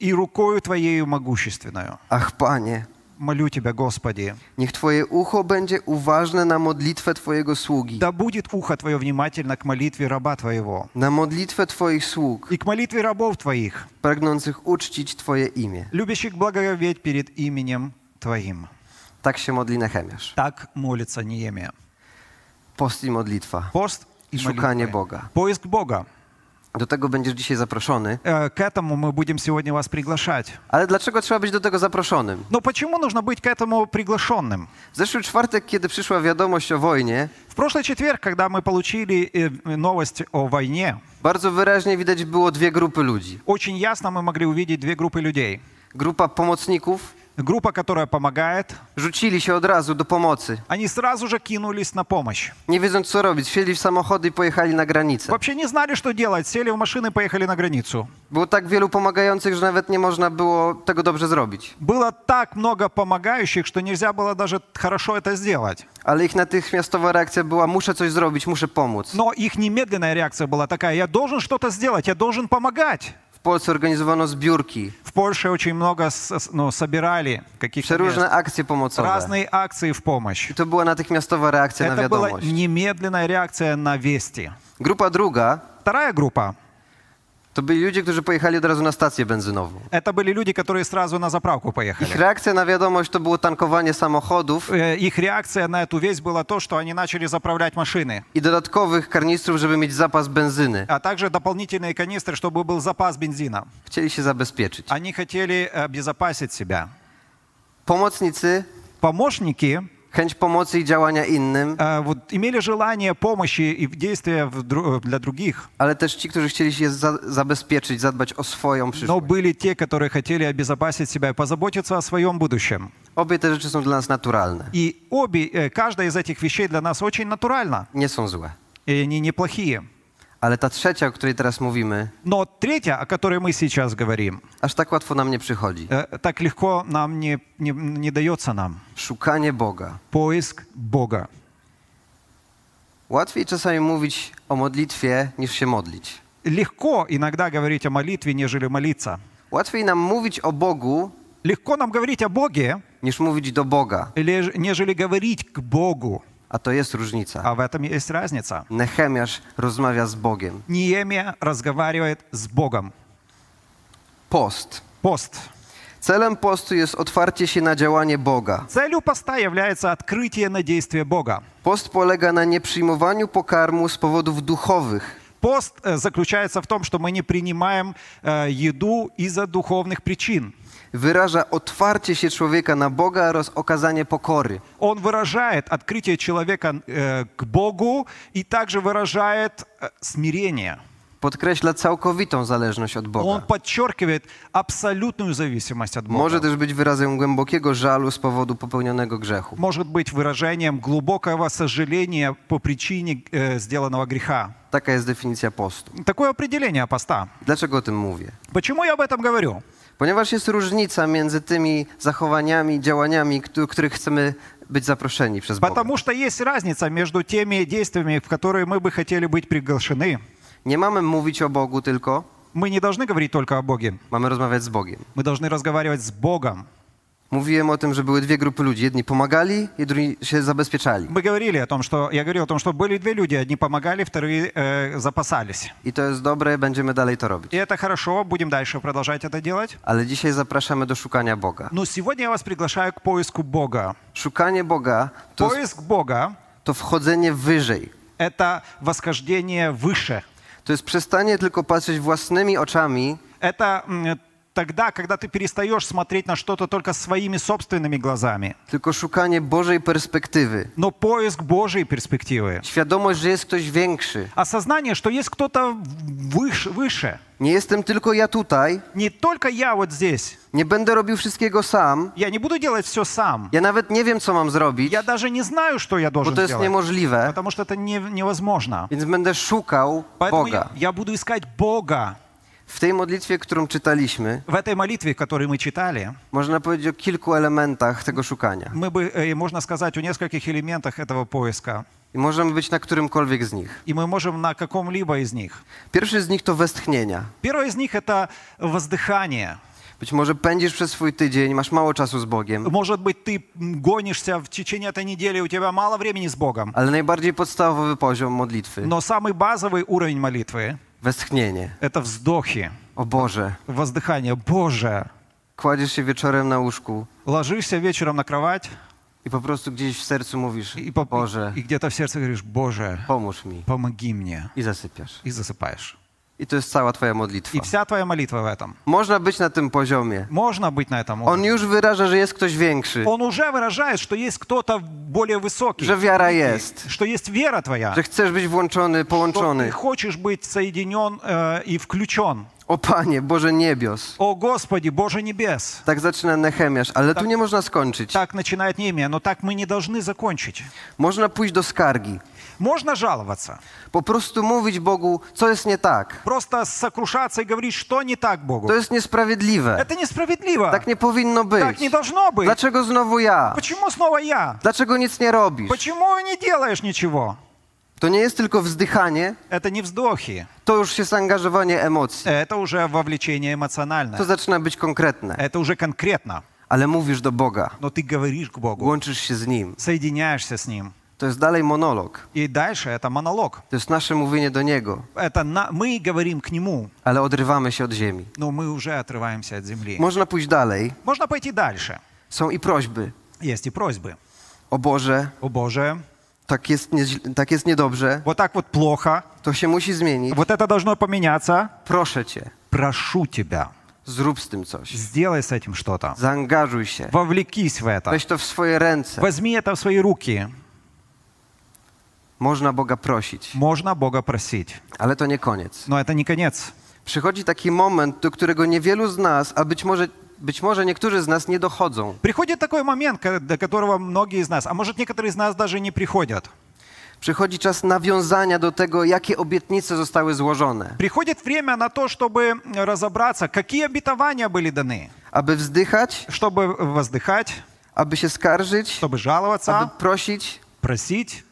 Speaker 2: и рукою твоею могущественную.
Speaker 1: Ach, Panie,
Speaker 2: Молю тебя, Господи,
Speaker 1: niech twoje ucho będzie uważne na modlitwę twojego sługi,
Speaker 2: да будет ухо твое внимательно к молитве раба твоего
Speaker 1: na modlitwę twoich sług,
Speaker 2: и к молитве рабов твоих,
Speaker 1: pragnących uczcić twoje imię.
Speaker 2: любящих благоговеть перед именем твоим.
Speaker 1: Tak się modli Nehemiasz.
Speaker 2: Так молится Неемия.
Speaker 1: Post i modlitwa.
Speaker 2: Пост
Speaker 1: И
Speaker 2: молитвы.
Speaker 1: шукание Бога.
Speaker 2: Поиск Бога.
Speaker 1: Do tego będziesz dzisiaj zaproszony.
Speaker 2: Э, К этому мы будем сегодня вас приглашать.
Speaker 1: Ale dlaczego trzeba być do tego zaproszonym?
Speaker 2: Но почему нужно быть к этому приглашенным?
Speaker 1: W zeszły czwartek, kiedy przyszła wiadomość o wojnie,
Speaker 2: В прошлый четверг, когда мы получили э, новость о войне,
Speaker 1: bardzo wyraźnie widać było dwie grupy ludzi.
Speaker 2: очень ясно мы могли увидеть две группы людей.
Speaker 1: Grupa pomocników
Speaker 2: Группа, которая помогает,
Speaker 1: rzucili się od razu do pomocy,
Speaker 2: они sразу же кинулись на помощь.
Speaker 1: nie wiedząc co robić. Wsiedli w samochody i pojechali na granicę.
Speaker 2: Вообще не знали, что делать, сели в машины и поехали на границу.
Speaker 1: Było tak wielu pomagających, że nawet nie można było tego dobrze zrobić.
Speaker 2: Было так много помогающих, что нельзя было даже хорошо это сделать.
Speaker 1: Ale ich natychmiastowa reakcja była: muszę coś
Speaker 2: No.
Speaker 1: zrobić, muszę pomóc.
Speaker 2: Но их немедленная реакция была такая, я должен что-то сделать, я должен помогать.
Speaker 1: W Polsce organizowano zbiórki,
Speaker 2: В Польше очень много с- с- ну, собирали каких-то
Speaker 1: przeróżne
Speaker 2: мест.
Speaker 1: akcje pomocowe.
Speaker 2: разные акции в помощь.
Speaker 1: I to była natychmiastowa reakcja na
Speaker 2: Это была
Speaker 1: wiadomość.
Speaker 2: немедленная реакция на вести.
Speaker 1: Grupa druga
Speaker 2: Вторая группа
Speaker 1: to byli ludzie, którzy pojechali od razu na stację benzynową.
Speaker 2: – это были люди, которые сразу на заправку поехали.
Speaker 1: Ich reakcja na wiadomość to było tankowanie samochodów
Speaker 2: Э, Их реакция на эту весть была то, что они начали заправлять машины,
Speaker 1: i dodatkowych karnistrów, żeby mieć zapas benzyny.
Speaker 2: а также дополнительные канистры, чтобы был запас бензина.
Speaker 1: Chcieli się zabezpieczyć.
Speaker 2: Они хотели э, обезопасить себя.
Speaker 1: Pomocnicy,
Speaker 2: Помощники
Speaker 1: chęć pomocy i działania innym,
Speaker 2: э, вот, имели желание помощи и в- действия в дру- э, для других,
Speaker 1: ale też ci, którzy chcieli się za zabezpieczyć, zadbać o swoją
Speaker 2: но
Speaker 1: przyszłość.
Speaker 2: были те, которые хотели обезопасить себя и позаботиться о своем будущем.
Speaker 1: Obie te rzeczy są dla nas naturalne.
Speaker 2: И обе, э, каждая из этих вещей для нас очень натуральна,
Speaker 1: Nie są złe.
Speaker 2: и они неплохие.
Speaker 1: Ale ta trzecia, o której teraz mówimy,
Speaker 2: Но третья, о которой мы сейчас говорим,
Speaker 1: aż tak łatwo nam nie przychodzi.
Speaker 2: э, так легко нам не, не, не дается нам.
Speaker 1: Szukanie Boga.
Speaker 2: Поиск Бога.
Speaker 1: Łatwiej czasami mówić o modlitwie niż się modlić.
Speaker 2: Легко иногда говорить о молитве, нежели молиться.
Speaker 1: Łatwiej nam mówić o Bogu
Speaker 2: Легко нам говорить о Боге,
Speaker 1: niż mówić do Boga,
Speaker 2: леж- нежели говорить к Богу.
Speaker 1: a to jest różnica.
Speaker 2: А в этом есть разница.
Speaker 1: Nehemiasz rozmawia z Bogiem.
Speaker 2: Неемия разговаривает с Богом.
Speaker 1: Post.
Speaker 2: Пост.
Speaker 1: Celem postu jest otwarcie się na działanie Boga.
Speaker 2: Целью поста является открытие на действие Бога.
Speaker 1: Post polega na nieprzyjmowaniu pokarmu z powodów duchowych,
Speaker 2: Пост э, заключается в том, что мы не принимаем э, еду из-за духовных причин.
Speaker 1: wyraża otwarcie się człowieka na Boga oraz okazanie pokory.
Speaker 2: Он выражает открытие человека э, к Богу и также выражает э, смирение.
Speaker 1: Podkreśla całkowitą zależność od
Speaker 2: Он
Speaker 1: Boga.
Speaker 2: подчеркивает абсолютную зависимость от Бога.
Speaker 1: Może też być wyrazem głębokiego żalu z powodu popełnionego grzechu.
Speaker 2: Может быть выражением глубокого сожаления по причине э, сделанного греха.
Speaker 1: Taka jest definicja postu.
Speaker 2: Такое определение поста.
Speaker 1: Dlaczego o tym mówię?
Speaker 2: Почему я об этом говорю?
Speaker 1: Ponieważ jest różnica między tymi zachowaniami, działaniami, któ- których chcemy być zaproszeni przez Boga.
Speaker 2: Потому что есть разница между теми действиями, в которые мы бы хотели быть приглашены.
Speaker 1: Nie mamy mówić o Bogu tylko,
Speaker 2: Мы не должны говорить только о Боге.
Speaker 1: mamy rozmawiać z Bogiem.
Speaker 2: Мы должны разговаривать с Богом.
Speaker 1: Mówiłem o tym, że były dwie grupy ludzi. Jedni pomagali, jedni się zabezpieczali.
Speaker 2: Мы говорили о том, что я говорил о том, что были две люди, одни помогали, вторые э, запасались.
Speaker 1: I to jest dobre, będziemy dalej to robić.
Speaker 2: И это хорошо, будем дальше продолжать это делать.
Speaker 1: Ale dzisiaj zapraszamy do szukania Boga.
Speaker 2: Но сегодня я вас приглашаю к поиску Бога.
Speaker 1: Szukanie Boga to,
Speaker 2: Поиск Бога
Speaker 1: to wchodzenie wyżej.
Speaker 2: – это восхождение выше.
Speaker 1: To jest przestanie tylko patrzeć własnymi oczami
Speaker 2: Это м, тогда, когда ты перестаешь смотреть на что-то только своими собственными глазами.
Speaker 1: tylko szukanie Bożej perspektywy.
Speaker 2: Но поиск Божьей перспективы.
Speaker 1: Świadomość, że jest ktoś większy.
Speaker 2: Осознание, что есть кто-то выше, выше.
Speaker 1: Nie jestem tylko ja tutaj,
Speaker 2: Не только я вот здесь.
Speaker 1: nie będę robił wszystkiego sam.
Speaker 2: Я не буду делать все сам.
Speaker 1: Ja nawet nie wiem, co mam zrobić,
Speaker 2: Я даже не знаю, что я
Speaker 1: bo
Speaker 2: должен
Speaker 1: to jest
Speaker 2: сделать.
Speaker 1: niemożliwe,
Speaker 2: Потому что это не- невозможно.
Speaker 1: więc będę szukał
Speaker 2: Поэтому я,
Speaker 1: Boga.
Speaker 2: я буду искать Бога.
Speaker 1: W tej modlitwie, którą czytaliśmy,
Speaker 2: В этой молитве, которую мы читали,
Speaker 1: można powiedzieć o kilku elementach tego szukania.
Speaker 2: мы бы, э, можно сказать, о нескольких элементах этого поиска.
Speaker 1: I możemy być na którymkolwiek z nich.
Speaker 2: И мы możем на каком-либо из них.
Speaker 1: Pierwszy z nich to westchnienia.
Speaker 2: Первое из них – это воздыхание.
Speaker 1: Być może pędzisz przez swój tydzień, masz mało czasu z Bogiem,
Speaker 2: Может быть, ты м, гонишься в течение этой недели, у тебя мало времени с Богом.
Speaker 1: ale najbardziej podstawowy poziom modlitwy
Speaker 2: Но самый базовый уровень молитвы
Speaker 1: westchnienie.
Speaker 2: – это вздохи,
Speaker 1: O Boże,
Speaker 2: воздыхание. Боже,
Speaker 1: kładziesz się wieczorem na łóżku
Speaker 2: ложишься вечером на кровать
Speaker 1: i po prostu gdzieś w sercu mówisz:
Speaker 2: и, по-
Speaker 1: Boże,
Speaker 2: и где-то в сердце говоришь, Боже,
Speaker 1: pomóż mi.
Speaker 2: помоги мне.
Speaker 1: I zasypiasz.
Speaker 2: И засыпаешь.
Speaker 1: I to jest cała Twoja
Speaker 2: И
Speaker 1: modlitwa.
Speaker 2: вся твоя молитва в этом.
Speaker 1: Można być na tym poziomie.
Speaker 2: Можно быть на этом
Speaker 1: On
Speaker 2: уровне.
Speaker 1: już wyraża, że jest ktoś większy,
Speaker 2: Он уже выражает, что есть кто-то более высокий.
Speaker 1: że wiara jest,
Speaker 2: Что есть вера твоя.
Speaker 1: że chcesz być włączony,
Speaker 2: Что ты
Speaker 1: połączony.
Speaker 2: хочешь быть соединен э, и включен.
Speaker 1: O Panie, Boże niebios.
Speaker 2: О Господи, Боже небес.
Speaker 1: Tak zaczyna Nehemiasz, ale tu nie można skończyć.
Speaker 2: Так начинает Немия, но так мы не должны закончить.
Speaker 1: Można pójść do skargi.
Speaker 2: Можно жаловаться,
Speaker 1: Po prostu mówić Bogu, co jest nie tak.
Speaker 2: просто сокрушаться и говорить, что не так Богу.
Speaker 1: To jest niesprawiedliwe.
Speaker 2: Это несправедливо.
Speaker 1: Tak nie powinno być.
Speaker 2: Так не должно быть.
Speaker 1: Dlaczego znowu ja?
Speaker 2: Почему снова я?
Speaker 1: Dlaczego nic nie robisz?
Speaker 2: Почему не делаешь ничего?
Speaker 1: To nie jest tylko wzdychanie,
Speaker 2: Это не вздохи,
Speaker 1: to już jest angażowanie emocji.
Speaker 2: это уже вовлечение
Speaker 1: To
Speaker 2: эмоциональное.
Speaker 1: zaczyna być konkretne.
Speaker 2: Это уже конкретно.
Speaker 1: Ale mówisz do Boga,
Speaker 2: Но ты говоришь к Богу,
Speaker 1: łączysz się z Nim.
Speaker 2: соединяешься с Ним.
Speaker 1: To jest dalej monolog.
Speaker 2: И дальше это монолог.
Speaker 1: To jest nasze mówienie do Niego,
Speaker 2: Это на- мы говорим к Нему,
Speaker 1: ale odrywamy się od ziemi.
Speaker 2: но мы уже отрываемся от земли.
Speaker 1: Można pójść dalej.
Speaker 2: Можно пойти дальше.
Speaker 1: Są i prośby.
Speaker 2: Есть и просьбы.
Speaker 1: O Boże,
Speaker 2: О Боже,
Speaker 1: tak jest, nieźle- tak jest niedobrze,
Speaker 2: вот так вот плохо,
Speaker 1: to się musi zmienić.
Speaker 2: вот это должно поменяться.
Speaker 1: Proszę Cię,
Speaker 2: Прошу тебя,
Speaker 1: zrób z tym coś.
Speaker 2: сделай с этим что-то.
Speaker 1: Zaangażuj się.
Speaker 2: Вовлекись в это.
Speaker 1: Weź to w swoje ręce.
Speaker 2: Возьми это в свои руки.
Speaker 1: Można Boga prosić,
Speaker 2: Можно Бога просить,
Speaker 1: ale to nie koniec.
Speaker 2: но это не конец.
Speaker 1: Przychodzi taki moment, do którego niewielu z nas, a być może, być może niektórzy z nas nie dochodzą.
Speaker 2: Приходит такой момент, ко- до которого многие из нас, а может некоторые из нас даже не приходят.
Speaker 1: Przychodzi czas nawiązania do tego, jakie obietnice zostały złożone,
Speaker 2: Приходит время на то, чтобы разобраться, какие обетования были даны,
Speaker 1: aby wzdychać,
Speaker 2: чтобы воздыхать,
Speaker 1: aby się skarżyć,
Speaker 2: чтобы
Speaker 1: aby
Speaker 2: жаловаться,
Speaker 1: prosić.
Speaker 2: просить.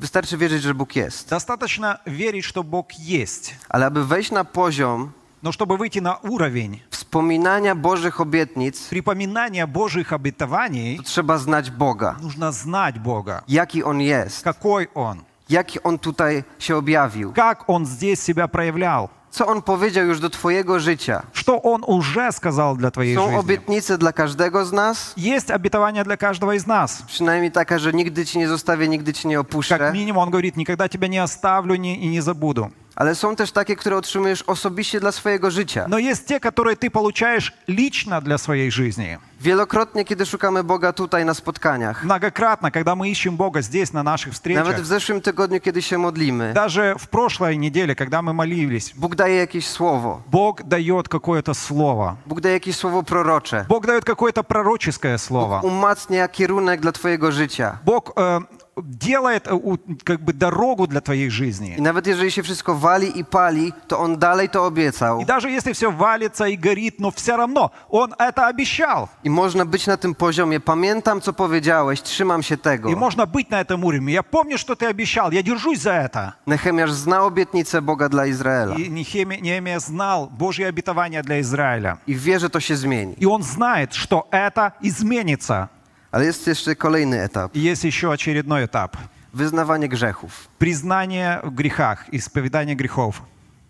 Speaker 1: Wystarczy wierzyć, że Bóg jest.
Speaker 2: Достаточно верить, что Бог есть,
Speaker 1: Ale aby wejść na poziom
Speaker 2: но чтобы выйти на уровень
Speaker 1: wspominania Bożych obietnic,
Speaker 2: припоминания Божьих обетований,
Speaker 1: to trzeba znać Boga.
Speaker 2: нужно знать Бога,
Speaker 1: Jaki On jest,
Speaker 2: какой Он,
Speaker 1: jaki On tutaj się objawił,
Speaker 2: как Он здесь себя проявлял,
Speaker 1: co On powiedział już do Twojego życia.
Speaker 2: что Он уже сказал для твоей
Speaker 1: Są
Speaker 2: жизни.
Speaker 1: obietnice dla każdego z nas,
Speaker 2: Есть обетование для каждого из нас.
Speaker 1: przynajmniej taka, że nigdy Cię nie zostawię, nigdy Cię nie opuszczę.
Speaker 2: Как минимум, он говорит, никогда тебя не оставлю ни- и не забуду.
Speaker 1: Ale są też takie, które otrzymujesz osobiście dla swojego życia.
Speaker 2: Но есть те, которые ты получаешь лично для своей жизни.
Speaker 1: Wielokrotnie, kiedy szukamy Boga tutaj na spotkaniach,
Speaker 2: Многократно, когда мы ищем Бога здесь, на наших
Speaker 1: nawet w
Speaker 2: встречах,
Speaker 1: zeszłym tygodniu, kiedy się modlimy,
Speaker 2: даже в прошлой неделе, когда мы молились,
Speaker 1: Bóg daje jakieś słowo.
Speaker 2: Бог дает какое-то слово.
Speaker 1: Bóg daje jakieś słowo prorocze.
Speaker 2: Бог дает какое-то пророческое слово.
Speaker 1: Umacnia kierunek dla Twojego życia.
Speaker 2: Бог э, делает э, у- как бы дорогу для твоей
Speaker 1: I
Speaker 2: жизни.
Speaker 1: nawet jeżeli się wszystko wali i pali, to On dalej to
Speaker 2: И
Speaker 1: obiecał.
Speaker 2: даже если все валится и горит, но все равно Он это обещал.
Speaker 1: I można być na tym poziomie. Pamiętam, co powiedziałeś, trzymam się tego.
Speaker 2: И можно быть на этом уровне. Я помню, что ты обещал, я держусь за это.
Speaker 1: Nehemiasz зна оbietnicę Boga dla Izraela
Speaker 2: И Нехеме- Нехемия знал Божье обетование для Израиля.
Speaker 1: i wie, że to się zmieni.
Speaker 2: И он знает, что это изменится.
Speaker 1: Ale jest jeszcze kolejny etap.
Speaker 2: И есть еще очередной этап.
Speaker 1: Wyznawanie grzechów.
Speaker 2: Признание в грехах, исповедание грехов.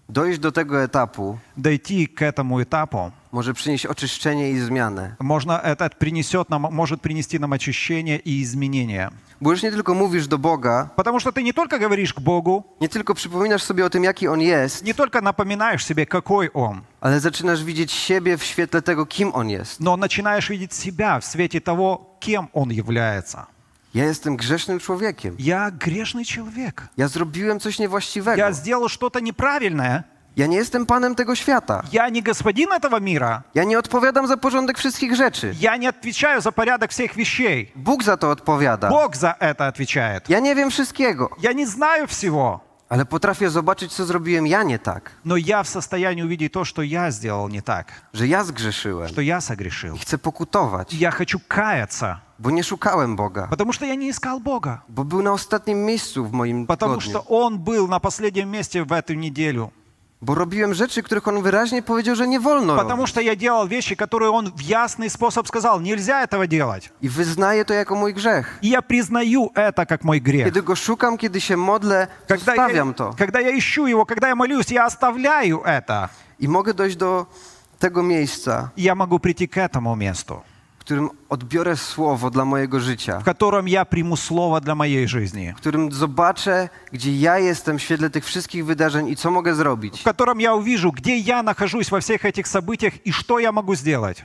Speaker 1: Dojść do tego etapu
Speaker 2: Дойти к этому этапу,
Speaker 1: może przynieść oczyszczenie i zmianę.
Speaker 2: можно, это принесет нам, может принести нам очищение и изменения.
Speaker 1: Bo już nie tylko mówisz do Boga,
Speaker 2: Потому что ты не только говоришь к Богу,
Speaker 1: nie tylko przypominasz sobie o tym, jaki On jest,
Speaker 2: не только напоминаешь себе, какой Он,
Speaker 1: ale zaczynasz widzieć siebie w świetle tego, kim On jest.
Speaker 2: но начинаешь видеть себя в свете того, кем Он является.
Speaker 1: Ja jestem grzesznym człowiekiem.
Speaker 2: Я грешный человек.
Speaker 1: Ja zrobiłem coś niewłaściwego.
Speaker 2: Я сделал что-то неправильное.
Speaker 1: Ja nie jestem panem tego świata.
Speaker 2: Я не господин этого мира.
Speaker 1: Ja nie odpowiadam za porządek wszystkich rzeczy.
Speaker 2: Я не отвечаю за порядок всех вещей.
Speaker 1: Bóg za to odpowiada.
Speaker 2: Бог за это отвечает.
Speaker 1: Ja nie wiem wszystkiego,
Speaker 2: Я не знаю всего,
Speaker 1: ale potrafię zobaczyć, co zrobiłem ja nie tak,
Speaker 2: но я в состоянии увидеть то, что я сделал не так,
Speaker 1: że ja zgrzeszyłem
Speaker 2: что я согрешил.
Speaker 1: i chcę pokutować,
Speaker 2: Я хочу каяться,
Speaker 1: bo nie szukałem Boga,
Speaker 2: потому что я не искал Бога.
Speaker 1: bo był na ostatnim miejscu w moim
Speaker 2: Потому что
Speaker 1: tygodniu,
Speaker 2: Он был на последнем месте в эту неделю.
Speaker 1: bo robiłem rzeczy, których on wyraźnie powiedział, że nie wolno
Speaker 2: Потому
Speaker 1: robić.
Speaker 2: что я делал вещи, которые Он в ясный способ сказал, нельзя этого делать.
Speaker 1: I wyznaję to jako mój grzech.
Speaker 2: И я признаю это как мой грех.
Speaker 1: Kiedy go szukam, kiedy się modlę,
Speaker 2: Когда я,
Speaker 1: zostawiam to
Speaker 2: когда я ищу Его, когда я молюсь, я оставляю это.
Speaker 1: i mogę dojść do tego miejsca,
Speaker 2: И я могу прийти к этому месту,
Speaker 1: w którym odbiorę słowo dla mojego życia,
Speaker 2: в котором я приму слово для моей жизни.
Speaker 1: w którym zobaczę, gdzie ja jestem w świetle tych wszystkich wydarzeń i co mogę
Speaker 2: в
Speaker 1: zrobić.
Speaker 2: котором я увижу, где я нахожусь во всех этих событиях и что я могу сделать.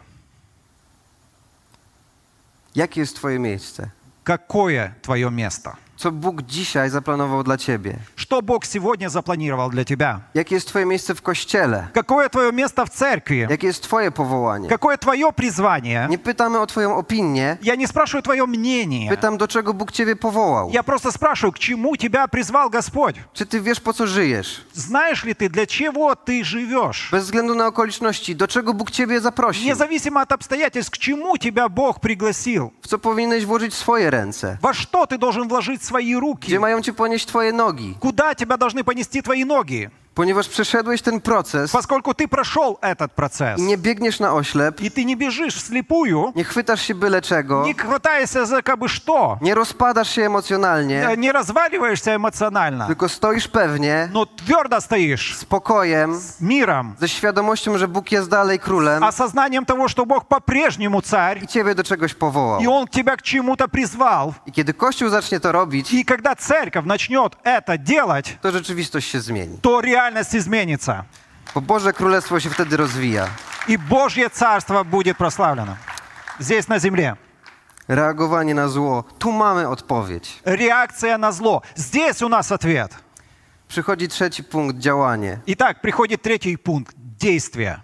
Speaker 1: Jakie jest Twoje miejsce?
Speaker 2: Какое твое место?
Speaker 1: Co Bóg dzisiaj zaplanował dla Ciebie?
Speaker 2: Что Бог сегодня запланировал для тебя?
Speaker 1: Jakie jest Twoje miejsce w kościele?
Speaker 2: Какое твое место в церкви?
Speaker 1: Jakie jest Twoje powołanie?
Speaker 2: Какое твое призвание?
Speaker 1: Nie pytamy o Twoją opinię,
Speaker 2: Я не спрашиваю твое мнение.
Speaker 1: pytam, do czego Bóg Ciebie powołał.
Speaker 2: Я просто спрашиваю, к чему тебя призвал Господь?
Speaker 1: Czy Ty wiesz, po co żyjesz?
Speaker 2: Знаешь ли ты, для чего ты живешь?
Speaker 1: Bez względu na okoliczności, do czego Bóg Ciebie zaprosił?
Speaker 2: Независимо от обстоятельств, к чему тебя Бог пригласил?
Speaker 1: W co powinieneś włożyć swoje ręce?
Speaker 2: Во что ты должен вложить свои руки?
Speaker 1: Gdzie mają cię ponieść twoje nogi?
Speaker 2: Куда тебя должны понести твои ноги?
Speaker 1: Ponieważ przeszedłeś ten proces
Speaker 2: Поскольку ты прошел этот процесс,
Speaker 1: i nie biegniesz na oślep,
Speaker 2: и ты не бежишь вслепую,
Speaker 1: nie chwytasz się byle czego,
Speaker 2: не хватаешься за кабы что,
Speaker 1: nie rozpadasz się
Speaker 2: э,
Speaker 1: emocjonalnie,
Speaker 2: не разваливаешься эмоционально,
Speaker 1: tylko stoisz pewnie,
Speaker 2: но твердо стоишь
Speaker 1: z pokojem,
Speaker 2: с миром,
Speaker 1: ze świadomością, że Bóg jest dalej królem
Speaker 2: осознанием того, что Бог по-прежнему царь,
Speaker 1: i ciebie do czegoś powołał.
Speaker 2: и Он тебя к чему-то призвал.
Speaker 1: I kiedy Kościół zacznie to robić,
Speaker 2: И когда церковь начнет это делать,
Speaker 1: to rzeczywistość się zmieni.
Speaker 2: то реальность изменится,
Speaker 1: Bo Boże Królestwo się wtedy rozwija.
Speaker 2: и Божье царство будет прославлено здесь на земле.
Speaker 1: Reagowanie na zło. Tu mamy odpowiedź.
Speaker 2: Реакция на зло. Здесь у нас ответ.
Speaker 1: Przychodzi trzeci punkt, działanie.
Speaker 2: Итак, приходит третий пункт – действие.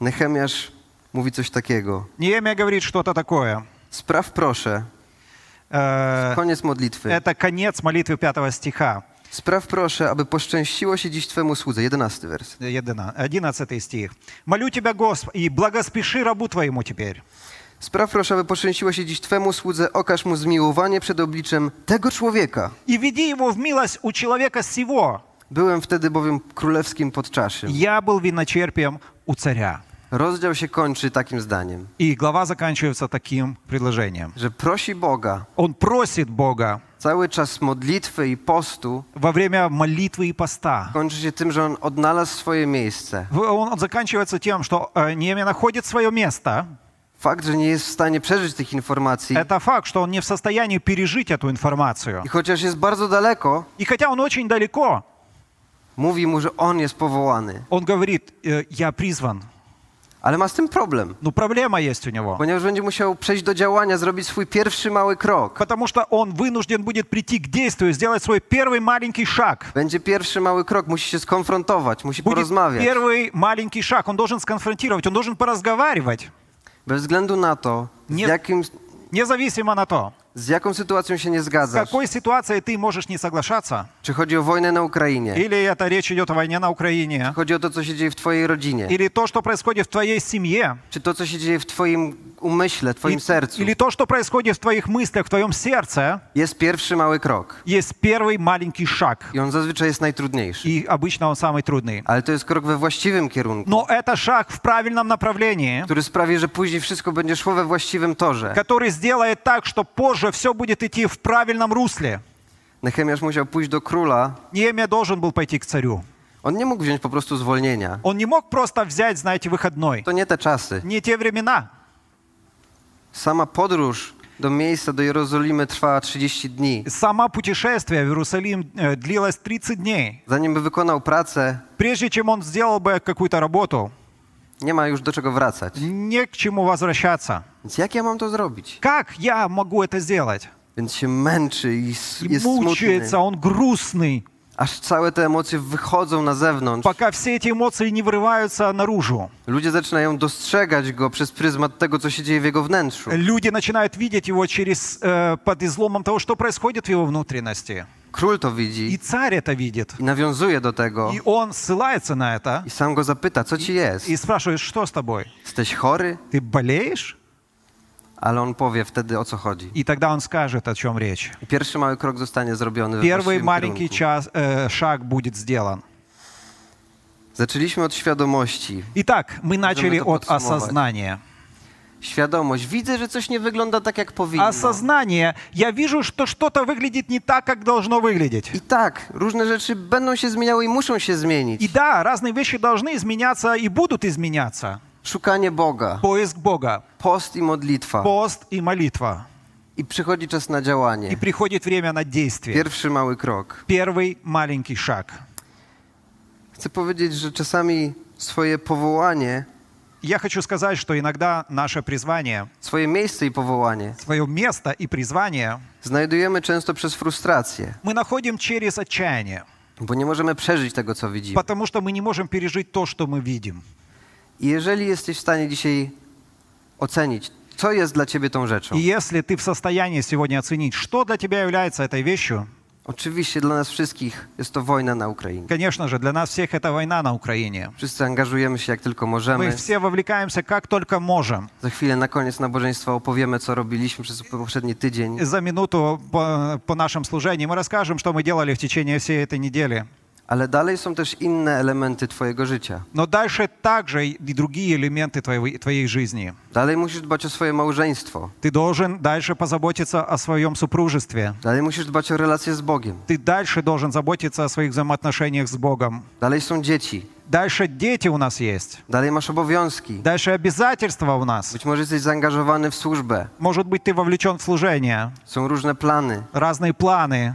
Speaker 1: Nehemiasz mówi coś takiego.
Speaker 2: Неемия говорит что-то такое.
Speaker 1: Spraw proszę,
Speaker 2: Э,
Speaker 1: koniec modlitwy.
Speaker 2: Это конец молитвы 5 стиха.
Speaker 1: Spraw proszę, aby poszczęściło się dziś Twemu słudze. Jedenasty wers.
Speaker 2: 11 стих. «Молю тебя, Господи, и благоспеши рабу твоему теперь».
Speaker 1: Spraw proszę, aby poszczęściło się dziś Twemu słudze, okaż mu zmiłowanie przed obliczem tego człowieka.
Speaker 2: «И веди его в милость у человека сего».
Speaker 1: Byłem wtedy bowiem królewskim podczaszym.
Speaker 2: «Я был виночерпием у царя».
Speaker 1: Rozdział się kończy takim zdaniem,
Speaker 2: И глава заканчивается таким предложением.
Speaker 1: że prosi Boga
Speaker 2: Он просит Бога
Speaker 1: cały czas modlitwy i postu,
Speaker 2: во время молитвы и поста.
Speaker 1: kończy się tym, że on odnalazł swoje miejsce.
Speaker 2: В- Он заканчивается тем, что э, Неемия находит свое место.
Speaker 1: Fakt, że nie jest w stanie przeżyć tych informacji
Speaker 2: Это факт, что он не в состоянии пережить эту информацию.
Speaker 1: i chociaż jest bardzo daleko,
Speaker 2: И хотя он очень далеко,
Speaker 1: mówi mu, że on jest powołany.
Speaker 2: он говорит, «Э, я призван.
Speaker 1: Ale ma z tym problem,
Speaker 2: Но проблема есть у него,
Speaker 1: ponieważ będzie musiał przejść do działania, zrobić swój pierwszy mały krok.
Speaker 2: потому что он вынужден будет прийти к действию, сделать свой первый маленький шаг.
Speaker 1: Będzie pierwszy mały krok, musi się skonfrontować, musi
Speaker 2: Будет
Speaker 1: porozmawiać.
Speaker 2: первый маленький шаг. Он должен сконфронтировать, он должен поразговаривать,
Speaker 1: Bez względu na to, z,
Speaker 2: Nie-
Speaker 1: jakim,
Speaker 2: независимо на то,
Speaker 1: z jaką sytuacją się nie
Speaker 2: с
Speaker 1: zgadzasz.
Speaker 2: какой ситуацией ты можешь не соглашаться.
Speaker 1: Czy chodzi o wojnę na Ukrainie,
Speaker 2: Или это речь идет о войне на Украине,
Speaker 1: chodzi o to, co się dzieje w twojej rodzinie,
Speaker 2: или то, что происходит в твоей семье,
Speaker 1: czy to, co się dzieje w twoim umyśle,
Speaker 2: и-
Speaker 1: twoim sercu.
Speaker 2: или то, что происходит в твоих мыслях, в твоем сердце,
Speaker 1: Jest pierwszy mały krok
Speaker 2: есть первый маленький шаг.
Speaker 1: i on zazwyczaj jest najtrudniejszy.
Speaker 2: И обычно он самый трудный.
Speaker 1: Ale to jest krok we właściwym kierunku,
Speaker 2: Но это шаг в правильном направлении,
Speaker 1: który sprawi, że później wszystko będzie szło we właściwym torze.
Speaker 2: который сделает так, что позже все будет идти в правильном русле.
Speaker 1: Nehemiasz musiał pójść do króla.
Speaker 2: Неемия должен был пойти к царю.
Speaker 1: On nie mógł wziąć po prostu zwolnienia.
Speaker 2: Он не мог просто взять, знаете, выходной.
Speaker 1: To nie te czasy.
Speaker 2: Не те времена.
Speaker 1: Sama podróż do miejsca, do Jerozolimy trwała 30 dni.
Speaker 2: Сама путешествие в Иерусалим э, длилось 30 дней.
Speaker 1: Zanim by wykonał pracę,
Speaker 2: Прежде чем он сделал бы какую-то работу,
Speaker 1: nie ma już do czego wracać.
Speaker 2: не к чему возвращаться.
Speaker 1: Więc jak ja mam to zrobić?
Speaker 2: Как я могу это сделать?
Speaker 1: Więc się męczy i s-
Speaker 2: И
Speaker 1: jest smutny.
Speaker 2: мучается, он грустный,
Speaker 1: Aż całe te emocje wychodzą na zewnątrz.
Speaker 2: пока все эти эмоции не вырываются наружу.
Speaker 1: Ludzie zaczynają dostrzegać go przez pryzmat tego, co się dzieje w jego wnętrzu.
Speaker 2: Люди начинают видеть его через, э, под изломом того, что происходит в его внутренности.
Speaker 1: Król to
Speaker 2: И
Speaker 1: widzi
Speaker 2: царь это видит.
Speaker 1: i nawiązuje do tego.
Speaker 2: И он ссылается на это
Speaker 1: I sam go zapyta, co ci jest?
Speaker 2: и спрашивает, что с тобой?
Speaker 1: Jesteś chory?
Speaker 2: Ты болеешь?
Speaker 1: Ale on powie wtedy, o co chodzi.
Speaker 2: И тогда он скажет, о чем речь.
Speaker 1: I pierwszy mały krok zostanie zrobiony w
Speaker 2: Первый
Speaker 1: właściwym
Speaker 2: маленький
Speaker 1: kierunku.
Speaker 2: час, э, шаг будет сделан.
Speaker 1: Zaczęliśmy od świadomości.
Speaker 2: Итак, мы начали
Speaker 1: это
Speaker 2: от
Speaker 1: подсумовать.
Speaker 2: осознания.
Speaker 1: Świadomość. Widzę, że coś nie wygląda tak, jak powinno.
Speaker 2: Осознание. Я вижу, что что-то wygląda nie так, как должно
Speaker 1: I
Speaker 2: выглядеть.
Speaker 1: tak, różne rzeczy będą się zmieniały i muszą się zmienić.
Speaker 2: И да, разные вещи должны изменяться и будут изменяться.
Speaker 1: Szukanie Boga,
Speaker 2: Поиск Бога,
Speaker 1: post i modlitwa.
Speaker 2: пост и молитва.
Speaker 1: I przychodzi czas na
Speaker 2: И
Speaker 1: działanie.
Speaker 2: приходит время на действие.
Speaker 1: Pierwszy mały krok.
Speaker 2: Первый маленький шаг.
Speaker 1: Chcę powiedzieć, że czasami swoje powołanie,
Speaker 2: Я хочу сказать, что иногда наше призвание,
Speaker 1: swoje miejsce i powołanie
Speaker 2: свое место и призвание
Speaker 1: znajdujemy często przez frustrację,
Speaker 2: мы naходим через отчаяние,
Speaker 1: bo nie możemy przeżyć tego, co widzimy.
Speaker 2: потому что мы не можем пережить то, что мы видим.
Speaker 1: I jeżeli jesteś w stanie dzisiaj ocenić, co jest dla ciebie tą rzeczą,
Speaker 2: И если ты в состоянии сегодня оценить, что для тебя является этой вещью,
Speaker 1: Oczywiście dla nas wszystkich jest to wojna na Ukrainie.
Speaker 2: Конечно же, для нас всех это война на Украине.
Speaker 1: Wszyscy angażujemy się jak tylko
Speaker 2: Мы
Speaker 1: możemy.
Speaker 2: все вовлекаемся как только можем.
Speaker 1: Za chwilę na koniec nabożeństwa opowiemy, co robiliśmy przez poprzedni tydzień.
Speaker 2: За минуту по, по нашим служениям мы расскажем, что мы делали в течение всей этой недели.
Speaker 1: Ale dalej są też inne elementy Twojego życia.
Speaker 2: Но дальше также и другие элементы твоей, твоей жизни.
Speaker 1: Dalej musisz dbać o swoje małżeństwo.
Speaker 2: Ты должен дальше позаботиться о своем супружестве.
Speaker 1: Dalej musisz dbać o relacje z Bogiem.
Speaker 2: Ты дальше должен заботиться о своих взаимоотношениях с Богом.
Speaker 1: Dalej są dzieci.
Speaker 2: Дальше дети у нас есть.
Speaker 1: Dalej masz obowiązki.
Speaker 2: Дальше обязательства у нас.
Speaker 1: Być może jesteś zaangażowany w służbę.
Speaker 2: Может быть, ты вовлечен в служение,
Speaker 1: Są różne plany.
Speaker 2: разные планы.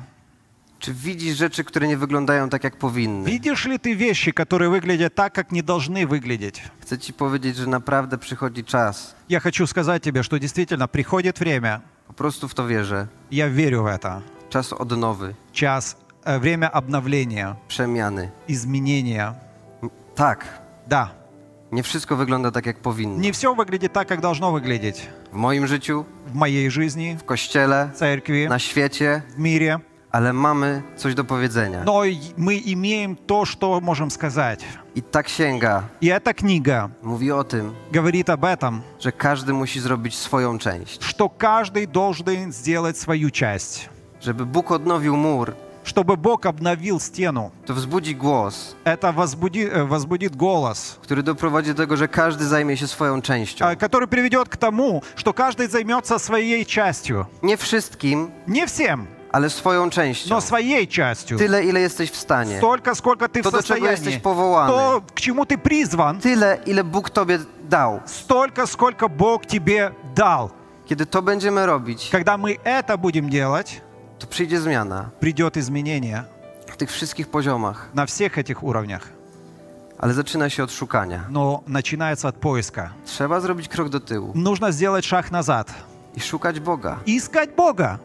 Speaker 1: Czy widzisz rzeczy, które nie wyglądają tak, jak powinny?
Speaker 2: Видишь ли ты вещи, которые выглядят так, как не должны выглядеть?
Speaker 1: Chcę Ci powiedzieć, że naprawdę przychodzi czas.
Speaker 2: Я хочу сказать тебе, что действительно приходит время,
Speaker 1: Po prostu w to wierzę.
Speaker 2: я верю в это,
Speaker 1: Czas odnowy,
Speaker 2: час, э, время обновления,
Speaker 1: przemiany.
Speaker 2: изменения.
Speaker 1: Tak,
Speaker 2: Да,
Speaker 1: nie wszystko wygląda tak, jak powinno.
Speaker 2: не все выглядит так, как должно выглядеть
Speaker 1: W moim życiu,
Speaker 2: в моей жизни,
Speaker 1: w kościele,
Speaker 2: в церкви,
Speaker 1: na świecie,
Speaker 2: в мире,
Speaker 1: ale mamy coś do powiedzenia.
Speaker 2: но и- мы имеем то, что можем сказать.
Speaker 1: I ta księga
Speaker 2: И эта книга
Speaker 1: mówi o tym,
Speaker 2: говорит об этом,
Speaker 1: że każdy musi zrobić swoją część.
Speaker 2: что каждый должен сделать свою часть.
Speaker 1: Żeby Bóg odnowił mur,
Speaker 2: Чтобы Бог обновил стену,
Speaker 1: to wzbudzi głos,
Speaker 2: это возбуди- э, возбудит голос,
Speaker 1: który doprowadzi do tego, że każdy zajmie się swoją częścią.
Speaker 2: а, который приведет к тому, что каждый займется своей частью.
Speaker 1: Nie wszystkim,
Speaker 2: Не всем,
Speaker 1: ale swoją częścią.
Speaker 2: но своей частью.
Speaker 1: Tyle, ile jesteś w stanie.
Speaker 2: Столько, сколько ты
Speaker 1: То,
Speaker 2: в
Speaker 1: до чего
Speaker 2: состоянии.
Speaker 1: jesteś powołany.
Speaker 2: То, к чему ты призван,
Speaker 1: Tyle, ile Bóg Tobie dał.
Speaker 2: столько, сколько Бог тебе дал.
Speaker 1: Kiedy to będziemy robić,
Speaker 2: Когда мы это будем делать,
Speaker 1: to przyjdzie zmiana
Speaker 2: придет изменение
Speaker 1: w tych wszystkich poziomach,
Speaker 2: на всех этих уровнях.
Speaker 1: ale zaczyna się od szukania.
Speaker 2: Но начинается от поиска.
Speaker 1: Trzeba zrobić krok do tyłu
Speaker 2: Нужно сделать шаг назад.
Speaker 1: i szukać Boga.
Speaker 2: Искать Бога.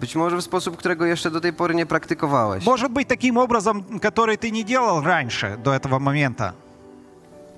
Speaker 1: Być może w sposób, którego jeszcze do tej pory nie praktykowałeś.
Speaker 2: Может быть, таким образом, который ты не делал раньше, до этого момента.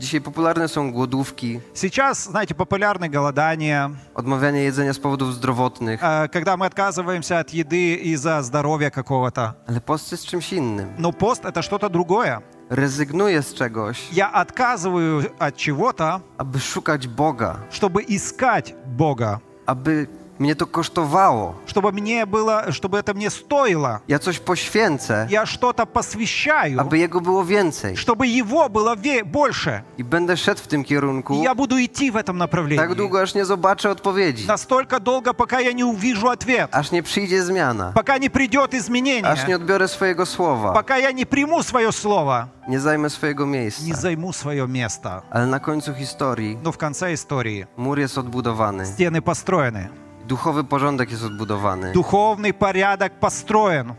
Speaker 1: Dzisiaj popularne są głodówki,
Speaker 2: Сейчас, знаете, популярны голодания,
Speaker 1: odmawianie jedzenia z powodów zdrowotnych,
Speaker 2: Э, когда мы отказываемся от еды из-за zdrowia какого-то.
Speaker 1: ale post jest czymś innym.
Speaker 2: Но пост это что-то другое.
Speaker 1: Rezygnuję z czegoś,
Speaker 2: Я отказываю от чего-то,
Speaker 1: aby szukać Boga,
Speaker 2: чтобы искать Бога,
Speaker 1: aby mnie to kosztowało.
Speaker 2: чтобы мне было, чтобы это мне стоило.
Speaker 1: Ja coś poświęcę,
Speaker 2: Я что-то посвящаю,
Speaker 1: aby Jego było więcej.
Speaker 2: чтобы его было ве- больше.
Speaker 1: I będę szedł w tym
Speaker 2: И
Speaker 1: kierunku
Speaker 2: я буду идти в этом
Speaker 1: tak
Speaker 2: направлении.
Speaker 1: długo, aż nie zobaczę odpowiedzi,
Speaker 2: Настолько долго, пока я не увижу ответ,
Speaker 1: aż nie przyjdzie zmiana,
Speaker 2: пока не придет
Speaker 1: aż nie
Speaker 2: изменение,
Speaker 1: odbiorę swojego słowa,
Speaker 2: пока я не приму свое слово,
Speaker 1: nie zajmę swojego
Speaker 2: не
Speaker 1: miejsca.
Speaker 2: займу свое место.
Speaker 1: Ale na końcu historii
Speaker 2: Но в конце истории
Speaker 1: mur jest odbudowany,
Speaker 2: стены построены.
Speaker 1: duchowy porządek jest odbudowany
Speaker 2: Духовный порядок построен,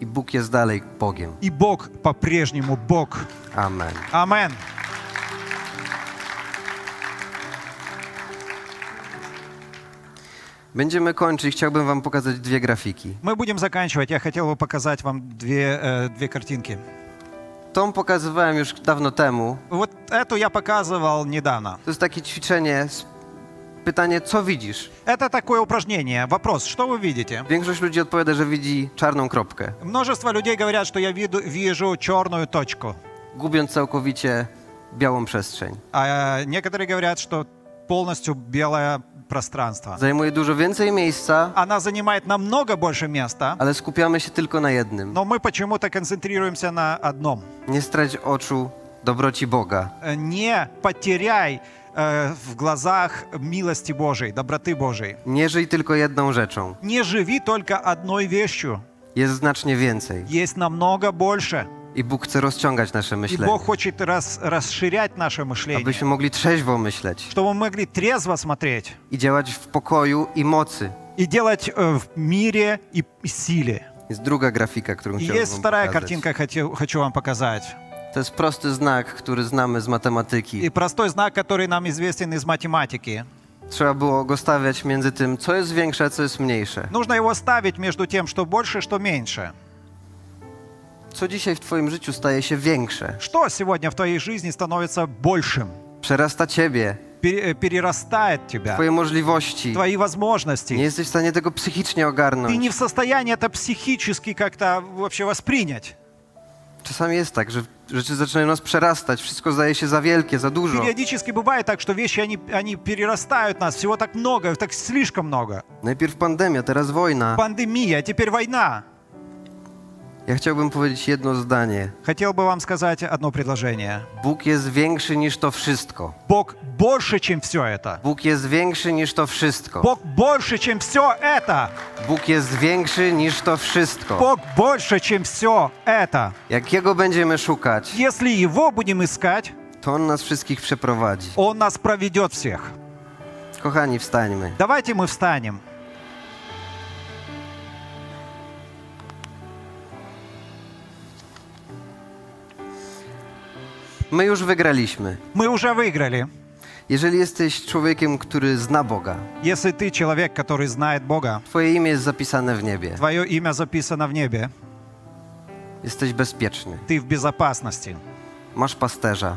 Speaker 1: i Bóg jest dalej Bogiem.
Speaker 2: и Бог по-прежнему Бог.
Speaker 1: Amen.
Speaker 2: Амен.
Speaker 1: Będziemy kończyć. Chciałbym Wam pokazać dwie grafiki.
Speaker 2: Мы будем заканчивать. Я хотел бы показать вам две, э, две картинки.
Speaker 1: Tą pokazywałem już dawno temu.
Speaker 2: Вот эту я показывал недавно.
Speaker 1: To jest takie ćwiczenie, z- pytanie, co widzisz?
Speaker 2: Это такое упражнение. Вопрос, что вы видите?
Speaker 1: Większość ludzi odpowiada, że widzi czarną kropkę,
Speaker 2: Множество людей говорят, что я виду- вижу черную точку,
Speaker 1: gubiąc całkowicie białą przestrzeń.
Speaker 2: а некоторые говорят, что полностью белое пространство.
Speaker 1: Zajmuje dużo więcej miejsca,
Speaker 2: Она занимает намного больше места,
Speaker 1: ale skupiamy się tylko na jednym.
Speaker 2: но мы почему-то концентрируемся на одном.
Speaker 1: Nie strać oczu dobroci Boga.
Speaker 2: Э, не потеряй э, в глазах милости Божией, доброты Божией.
Speaker 1: Nie żyj tylko jedną rzeczą.
Speaker 2: Не живи только одной вещью.
Speaker 1: Jest znacznie więcej.
Speaker 2: Есть намного больше.
Speaker 1: I Bóg chce rozciągać nasze
Speaker 2: И
Speaker 1: myślenie,
Speaker 2: Бог хочет раз- расширять наше мышление,
Speaker 1: abyśmy mogli trzeźwo myśleć
Speaker 2: чтобы мы могли трезво смотреть
Speaker 1: i działać w pokoju i mocy.
Speaker 2: и делать э, в мире и и силе.
Speaker 1: Jest druga grafika, którą
Speaker 2: И
Speaker 1: chciałbym
Speaker 2: есть
Speaker 1: wam
Speaker 2: вторая
Speaker 1: pokazać.
Speaker 2: картинка, хотел- хочу вам показать.
Speaker 1: To jest prosty znak, który znamy z
Speaker 2: И
Speaker 1: matematyki.
Speaker 2: простой знак, который нам известен из математики.
Speaker 1: Trzeba było go stawiać między tym, co jest większe, a co jest mniejsze.
Speaker 2: Нужно его ставить между тем, что больше, что меньше.
Speaker 1: Co dzisiaj w Twoim życiu staje się większe?
Speaker 2: Что сегодня в твоей жизни становится большим?
Speaker 1: Przerasta Ciebie,
Speaker 2: пере- э, перерастает тебя,
Speaker 1: Twoje możliwości.
Speaker 2: твои возможности.
Speaker 1: Nie jesteś w stanie tego psychicznie ogarnąć.
Speaker 2: Ты не в состоянии это психически как-то вообще воспринять.
Speaker 1: Czasami jest tak, że rzeczy zaczynają nas przerastać, wszystko zdaje się za wielkie, za dużo.
Speaker 2: Периодически бывает так, что вещи, они, они перерастают нас. Всего так много, так слишком много.
Speaker 1: Najpierw pandemia, teraz wojna.
Speaker 2: Пандемия, теперь война.
Speaker 1: Ja chciałbym powiedzieć jedno zdanie.
Speaker 2: Хотел бы вам сказать одно предложение.
Speaker 1: Bóg jest większy niż to wszystko.
Speaker 2: Бог больше, чем все это.
Speaker 1: Bóg jest większy niż to wszystko.
Speaker 2: Бог больше, чем все это.
Speaker 1: Bóg jest większy niż to wszystko.
Speaker 2: Бог больше, чем все это.
Speaker 1: Jakiego będziemy szukać,
Speaker 2: Если Его будем искать,
Speaker 1: to On nas wszystkich przeprowadzi.
Speaker 2: Он нас проведет всех.
Speaker 1: Kochani, wstańmy.
Speaker 2: Давайте мы встанем.
Speaker 1: My już wygraliśmy.
Speaker 2: Мы уже выиграли.
Speaker 1: Jeżeli jesteś człowiekiem, który zna Boga,
Speaker 2: Если ты человек, который знает Бога,
Speaker 1: Twoje imię jest zapisane w niebie.
Speaker 2: твое имя записано в небе,
Speaker 1: Jesteś bezpieczny.
Speaker 2: ты в безопасности.
Speaker 1: Masz pasterza.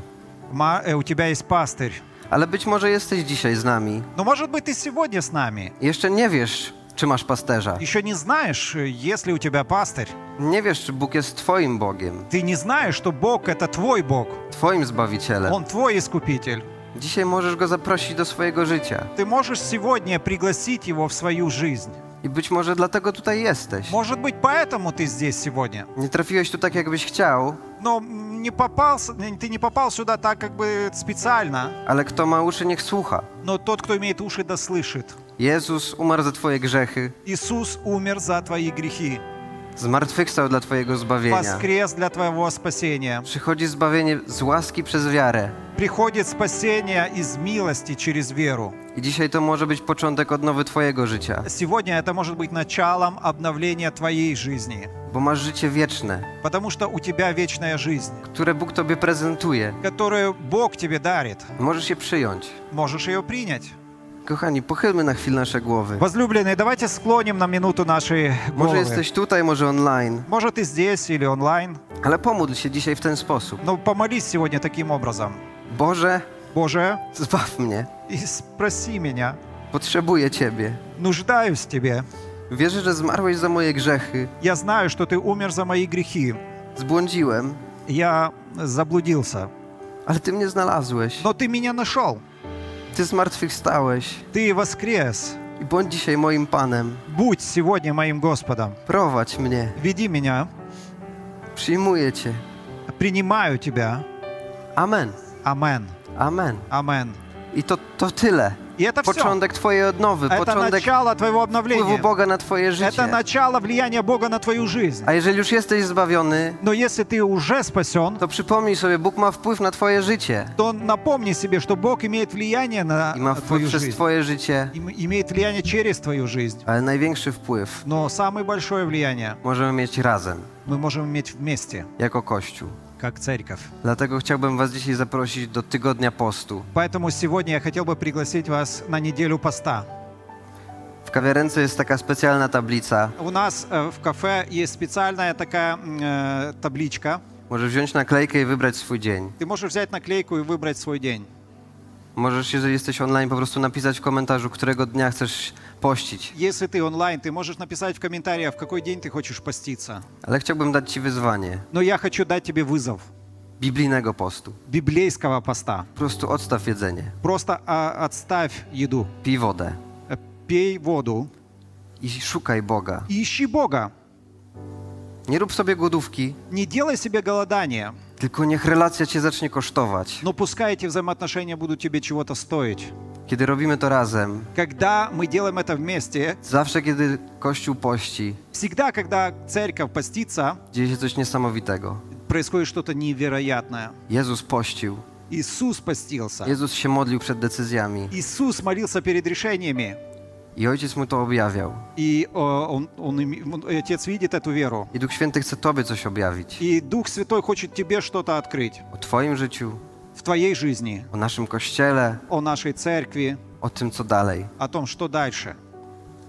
Speaker 2: Ма- э, у тебя есть пастырь.
Speaker 1: Ale być może jesteś dzisiaj z nami.
Speaker 2: Но может быть ты сегодня с нами.
Speaker 1: Jeszcze nie wiesz, czy masz pasterza.
Speaker 2: Еще не знаешь, э, есть ли у тебя пастырь.
Speaker 1: Nie wiesz, czy Bóg jest Twoim Bogiem,
Speaker 2: Ты не знаешь, что Бог это твой Бог.
Speaker 1: Twoim Zbawicielem.
Speaker 2: Он твой искупитель.
Speaker 1: Dzisiaj możesz Go zaprosić do swojego życia.
Speaker 2: Ты можешь сегодня пригласить его в свою жизнь.
Speaker 1: I być może dlatego tutaj jesteś.
Speaker 2: Может быть, поэтому ты здесь сегодня.
Speaker 1: Nie trafiłeś tu так, jakbyś chciał,
Speaker 2: Но м, не попал, с- н- ты не попал сюда так как бы специально.
Speaker 1: ale kto ma uszy, niech słucha.
Speaker 2: Но тот, кто имеет уши, да слышит.
Speaker 1: Jezus umarł za Twoje grzechy,
Speaker 2: Иисус умер за твои грехи.
Speaker 1: zmartwychwstał dla Twojego zbawienia.
Speaker 2: Воскрес для твоего спасения.
Speaker 1: Przychodzi zbawienie z łaski przez wiarę.
Speaker 2: Приходит спасение из милости через веру.
Speaker 1: I dzisiaj to może być początek odnowy Twojego życia,
Speaker 2: Сегодня это может быть началом обновления твоей жизни,
Speaker 1: bo masz życie wieczne,
Speaker 2: потому что у тебя вечная жизнь,
Speaker 1: które Bóg Tobie prezentuje.
Speaker 2: которую Бог тебе дарит.
Speaker 1: Możesz je przyjąć.
Speaker 2: Можешь ее принять.
Speaker 1: Kochani, pochylmy na chwilę nasze głowy.
Speaker 2: Возлюбленные, давайте склоним на минуту наши
Speaker 1: Może
Speaker 2: головы.
Speaker 1: jesteś tutaj, może online,
Speaker 2: Может, и здесь, или онлайн.
Speaker 1: ale pomódl się dzisiaj w ten sposób.
Speaker 2: Но помолись сегодня таким образом.
Speaker 1: Boże,
Speaker 2: Боже,
Speaker 1: zbaw mnie.
Speaker 2: и спроси меня,
Speaker 1: Potrzebuję Ciebie.
Speaker 2: нуждаюсь в Тебе.
Speaker 1: Wierzę, że zmarłeś za moje grzechy.
Speaker 2: Я знаю, что Ты умер за мои грехи.
Speaker 1: Zbłądziłem,
Speaker 2: Я заблудился.
Speaker 1: ale Ty mnie znalazłeś.
Speaker 2: Но Ты меня нашел.
Speaker 1: Ty zmartwychwstałeś.
Speaker 2: Ты воскрес.
Speaker 1: I bądź dzisiaj moim Panem.
Speaker 2: Будь сегодня моим Господом.
Speaker 1: Prowadź mnie.
Speaker 2: Веди меня.
Speaker 1: Przyjmuję Cię.
Speaker 2: Принимаю Тебя.
Speaker 1: Amen.
Speaker 2: Амен.
Speaker 1: Amen.
Speaker 2: Амен.
Speaker 1: I to, to tyle.
Speaker 2: И это все.
Speaker 1: Początek Twojej odnowy,
Speaker 2: Это
Speaker 1: początek
Speaker 2: начало Твоего
Speaker 1: wpływu
Speaker 2: обновления.
Speaker 1: Boga na Twoje
Speaker 2: Это
Speaker 1: życie.
Speaker 2: начало влияния Бога на твою жизнь.
Speaker 1: A jeżeli już jesteś zbawiony,
Speaker 2: Но если ты уже спасен,
Speaker 1: to przypomnij sobie, Bóg ma wpływ na Twoje życie.
Speaker 2: то напомни себе, что Бог имеет влияние на
Speaker 1: I ma
Speaker 2: на
Speaker 1: wpływ
Speaker 2: твою
Speaker 1: przez
Speaker 2: жизнь.
Speaker 1: Twoje życie,
Speaker 2: Им- Имеет влияние через твою жизнь.
Speaker 1: ale największy wpływ
Speaker 2: Но самое большое влияние
Speaker 1: możemy mieć razem,
Speaker 2: мы можем иметь вместе,
Speaker 1: jako Kościół.
Speaker 2: как церковь.
Speaker 1: Dlatego chciałbym Was dzisiaj zaprosić do tygodnia postu.
Speaker 2: Поэтому сегодня я хотел бы пригласить вас на неделю поста.
Speaker 1: W kawiarence jest taka specjalna tablica.
Speaker 2: У нас э, в кафе есть специальная такая м, э, табличка.
Speaker 1: Możesz wziąć naklejkę i wybrać swój dzień.
Speaker 2: Ты можешь взять наклейку и выбрать свой день.
Speaker 1: Możesz, jeżeli jesteś online, po prostu napisać w komentarzu, którego dnia chcesz pościć.
Speaker 2: Если ты онлайн, ты можешь написать в комментариях, в какой день ты хочешь поститься.
Speaker 1: Ale chciałbym dać Ci wyzwanie
Speaker 2: Но я хочу дать тебе вызов
Speaker 1: biblijnego postu.
Speaker 2: библейского поста.
Speaker 1: Po prostu odstaw jedzenie,
Speaker 2: Просто а, отставь еду,
Speaker 1: pij wodę
Speaker 2: Э, пей воду,
Speaker 1: i szukaj Boga.
Speaker 2: и ищи Бога.
Speaker 1: Nie rób sobie głodówki,
Speaker 2: Не делай себе голодание,
Speaker 1: tylko niech relacja Cię zacznie kosztować.
Speaker 2: но пускай эти взаимоотношения будут тебе чего-то стоить.
Speaker 1: Kiedy robimy to razem,
Speaker 2: Когда мы делаем это вместе,
Speaker 1: zawsze kiedy Kościół pości,
Speaker 2: всегда, когда церковь постится,
Speaker 1: dzieje się coś niesamowitego.
Speaker 2: происходит что-то невероятное.
Speaker 1: Jezus pościł.
Speaker 2: Иисус постился.
Speaker 1: Jezus się modlił przed decyzjami
Speaker 2: Иисус молился перед решениями,
Speaker 1: i Ojciec mu to objawiał.
Speaker 2: и э, он, он име- он- Отец видит эту веру.
Speaker 1: I Duch Święty chce Tobie coś objawić.
Speaker 2: И Дух Святой хочет тебе что-то открыть
Speaker 1: O Twoim życiu,
Speaker 2: в твоей жизни,
Speaker 1: o naszym Kościele,
Speaker 2: о нашей церкви,
Speaker 1: o tym, co dalej
Speaker 2: о том, что дальше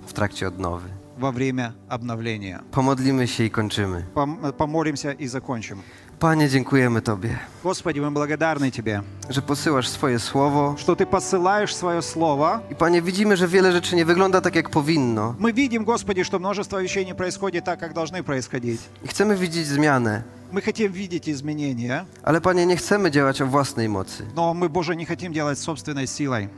Speaker 1: w trakcie odnowy.
Speaker 2: во время обновления.
Speaker 1: Pomodlimy się i kończymy.
Speaker 2: Пом- Помолимся и закончим.
Speaker 1: Panie, dziękujemy Tobie,
Speaker 2: Господи, мы благодарны Тебе,
Speaker 1: że posyłasz swoje słowo.
Speaker 2: что Ты посылаешь свое слово.
Speaker 1: I Panie, widzimy, że wiele rzeczy nie wygląda tak, jak powinno.
Speaker 2: Мы видим, Господи, что множество вещей не происходит так, как должны происходить.
Speaker 1: I chcemy widzieć zmianę,
Speaker 2: Мы хотим видеть изменения,
Speaker 1: ale Panie, nie chcemy działać o własnej mocy.
Speaker 2: но мы, Боже, не хотим делать собственной силой.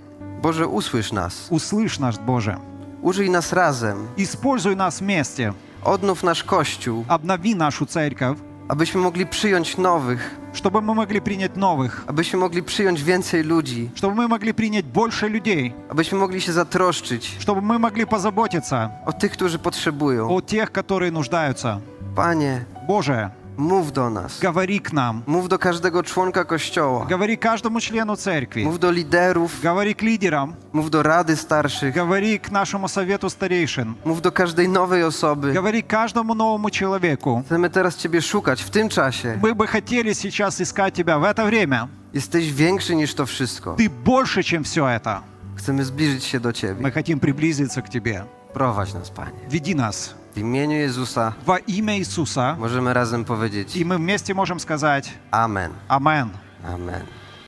Speaker 1: Boże, usłysz nas.
Speaker 2: Услышь нас, Боже.
Speaker 1: Użyj nas razem.
Speaker 2: Используй нас вместе.
Speaker 1: Odnów nasz Kościół,
Speaker 2: Обнови нашу церковь,
Speaker 1: abyśmy mogli przyjąć nowych,
Speaker 2: чтобы мы могли принять новых,
Speaker 1: abyśmy mogli przyjąć więcej ludzi,
Speaker 2: чтобы мы могли принять больше людей,
Speaker 1: abyśmy mogli się zatroszczyć
Speaker 2: чтобы мы могли позаботиться
Speaker 1: o tych, którzy potrzebują.
Speaker 2: о тех, которые нуждаются.
Speaker 1: Panie,
Speaker 2: Боже,
Speaker 1: mów do nas.
Speaker 2: говори к нам,
Speaker 1: Mów do każdego członka Kościoła.
Speaker 2: говори каждому члену церкви,
Speaker 1: Mów do liderów,
Speaker 2: говори к лидерам,
Speaker 1: mów do rady starszych,
Speaker 2: говори к нашему совету старейшин,
Speaker 1: mów do każdej nowej osoby.
Speaker 2: говори каждому новому человеku.
Speaker 1: Chcemy teraz Ciebie szukać w tym czasie.
Speaker 2: Мы бы хотели сейчас искать Тебя в это время.
Speaker 1: Jesteś większy niż to wszystko.
Speaker 2: Ты больше, чем все это.
Speaker 1: Chcemy zbliżyć się do Ciebie.
Speaker 2: Мы хотим приблизиться к Тебе.
Speaker 1: Prowadź nas, Panie.
Speaker 2: Веди нас
Speaker 1: W imieniu Jezusa
Speaker 2: во имя Иисуса.
Speaker 1: możemy razem powiedzieć
Speaker 2: И мы вместе можем сказать
Speaker 1: Amen.
Speaker 2: Амен.
Speaker 1: Amen.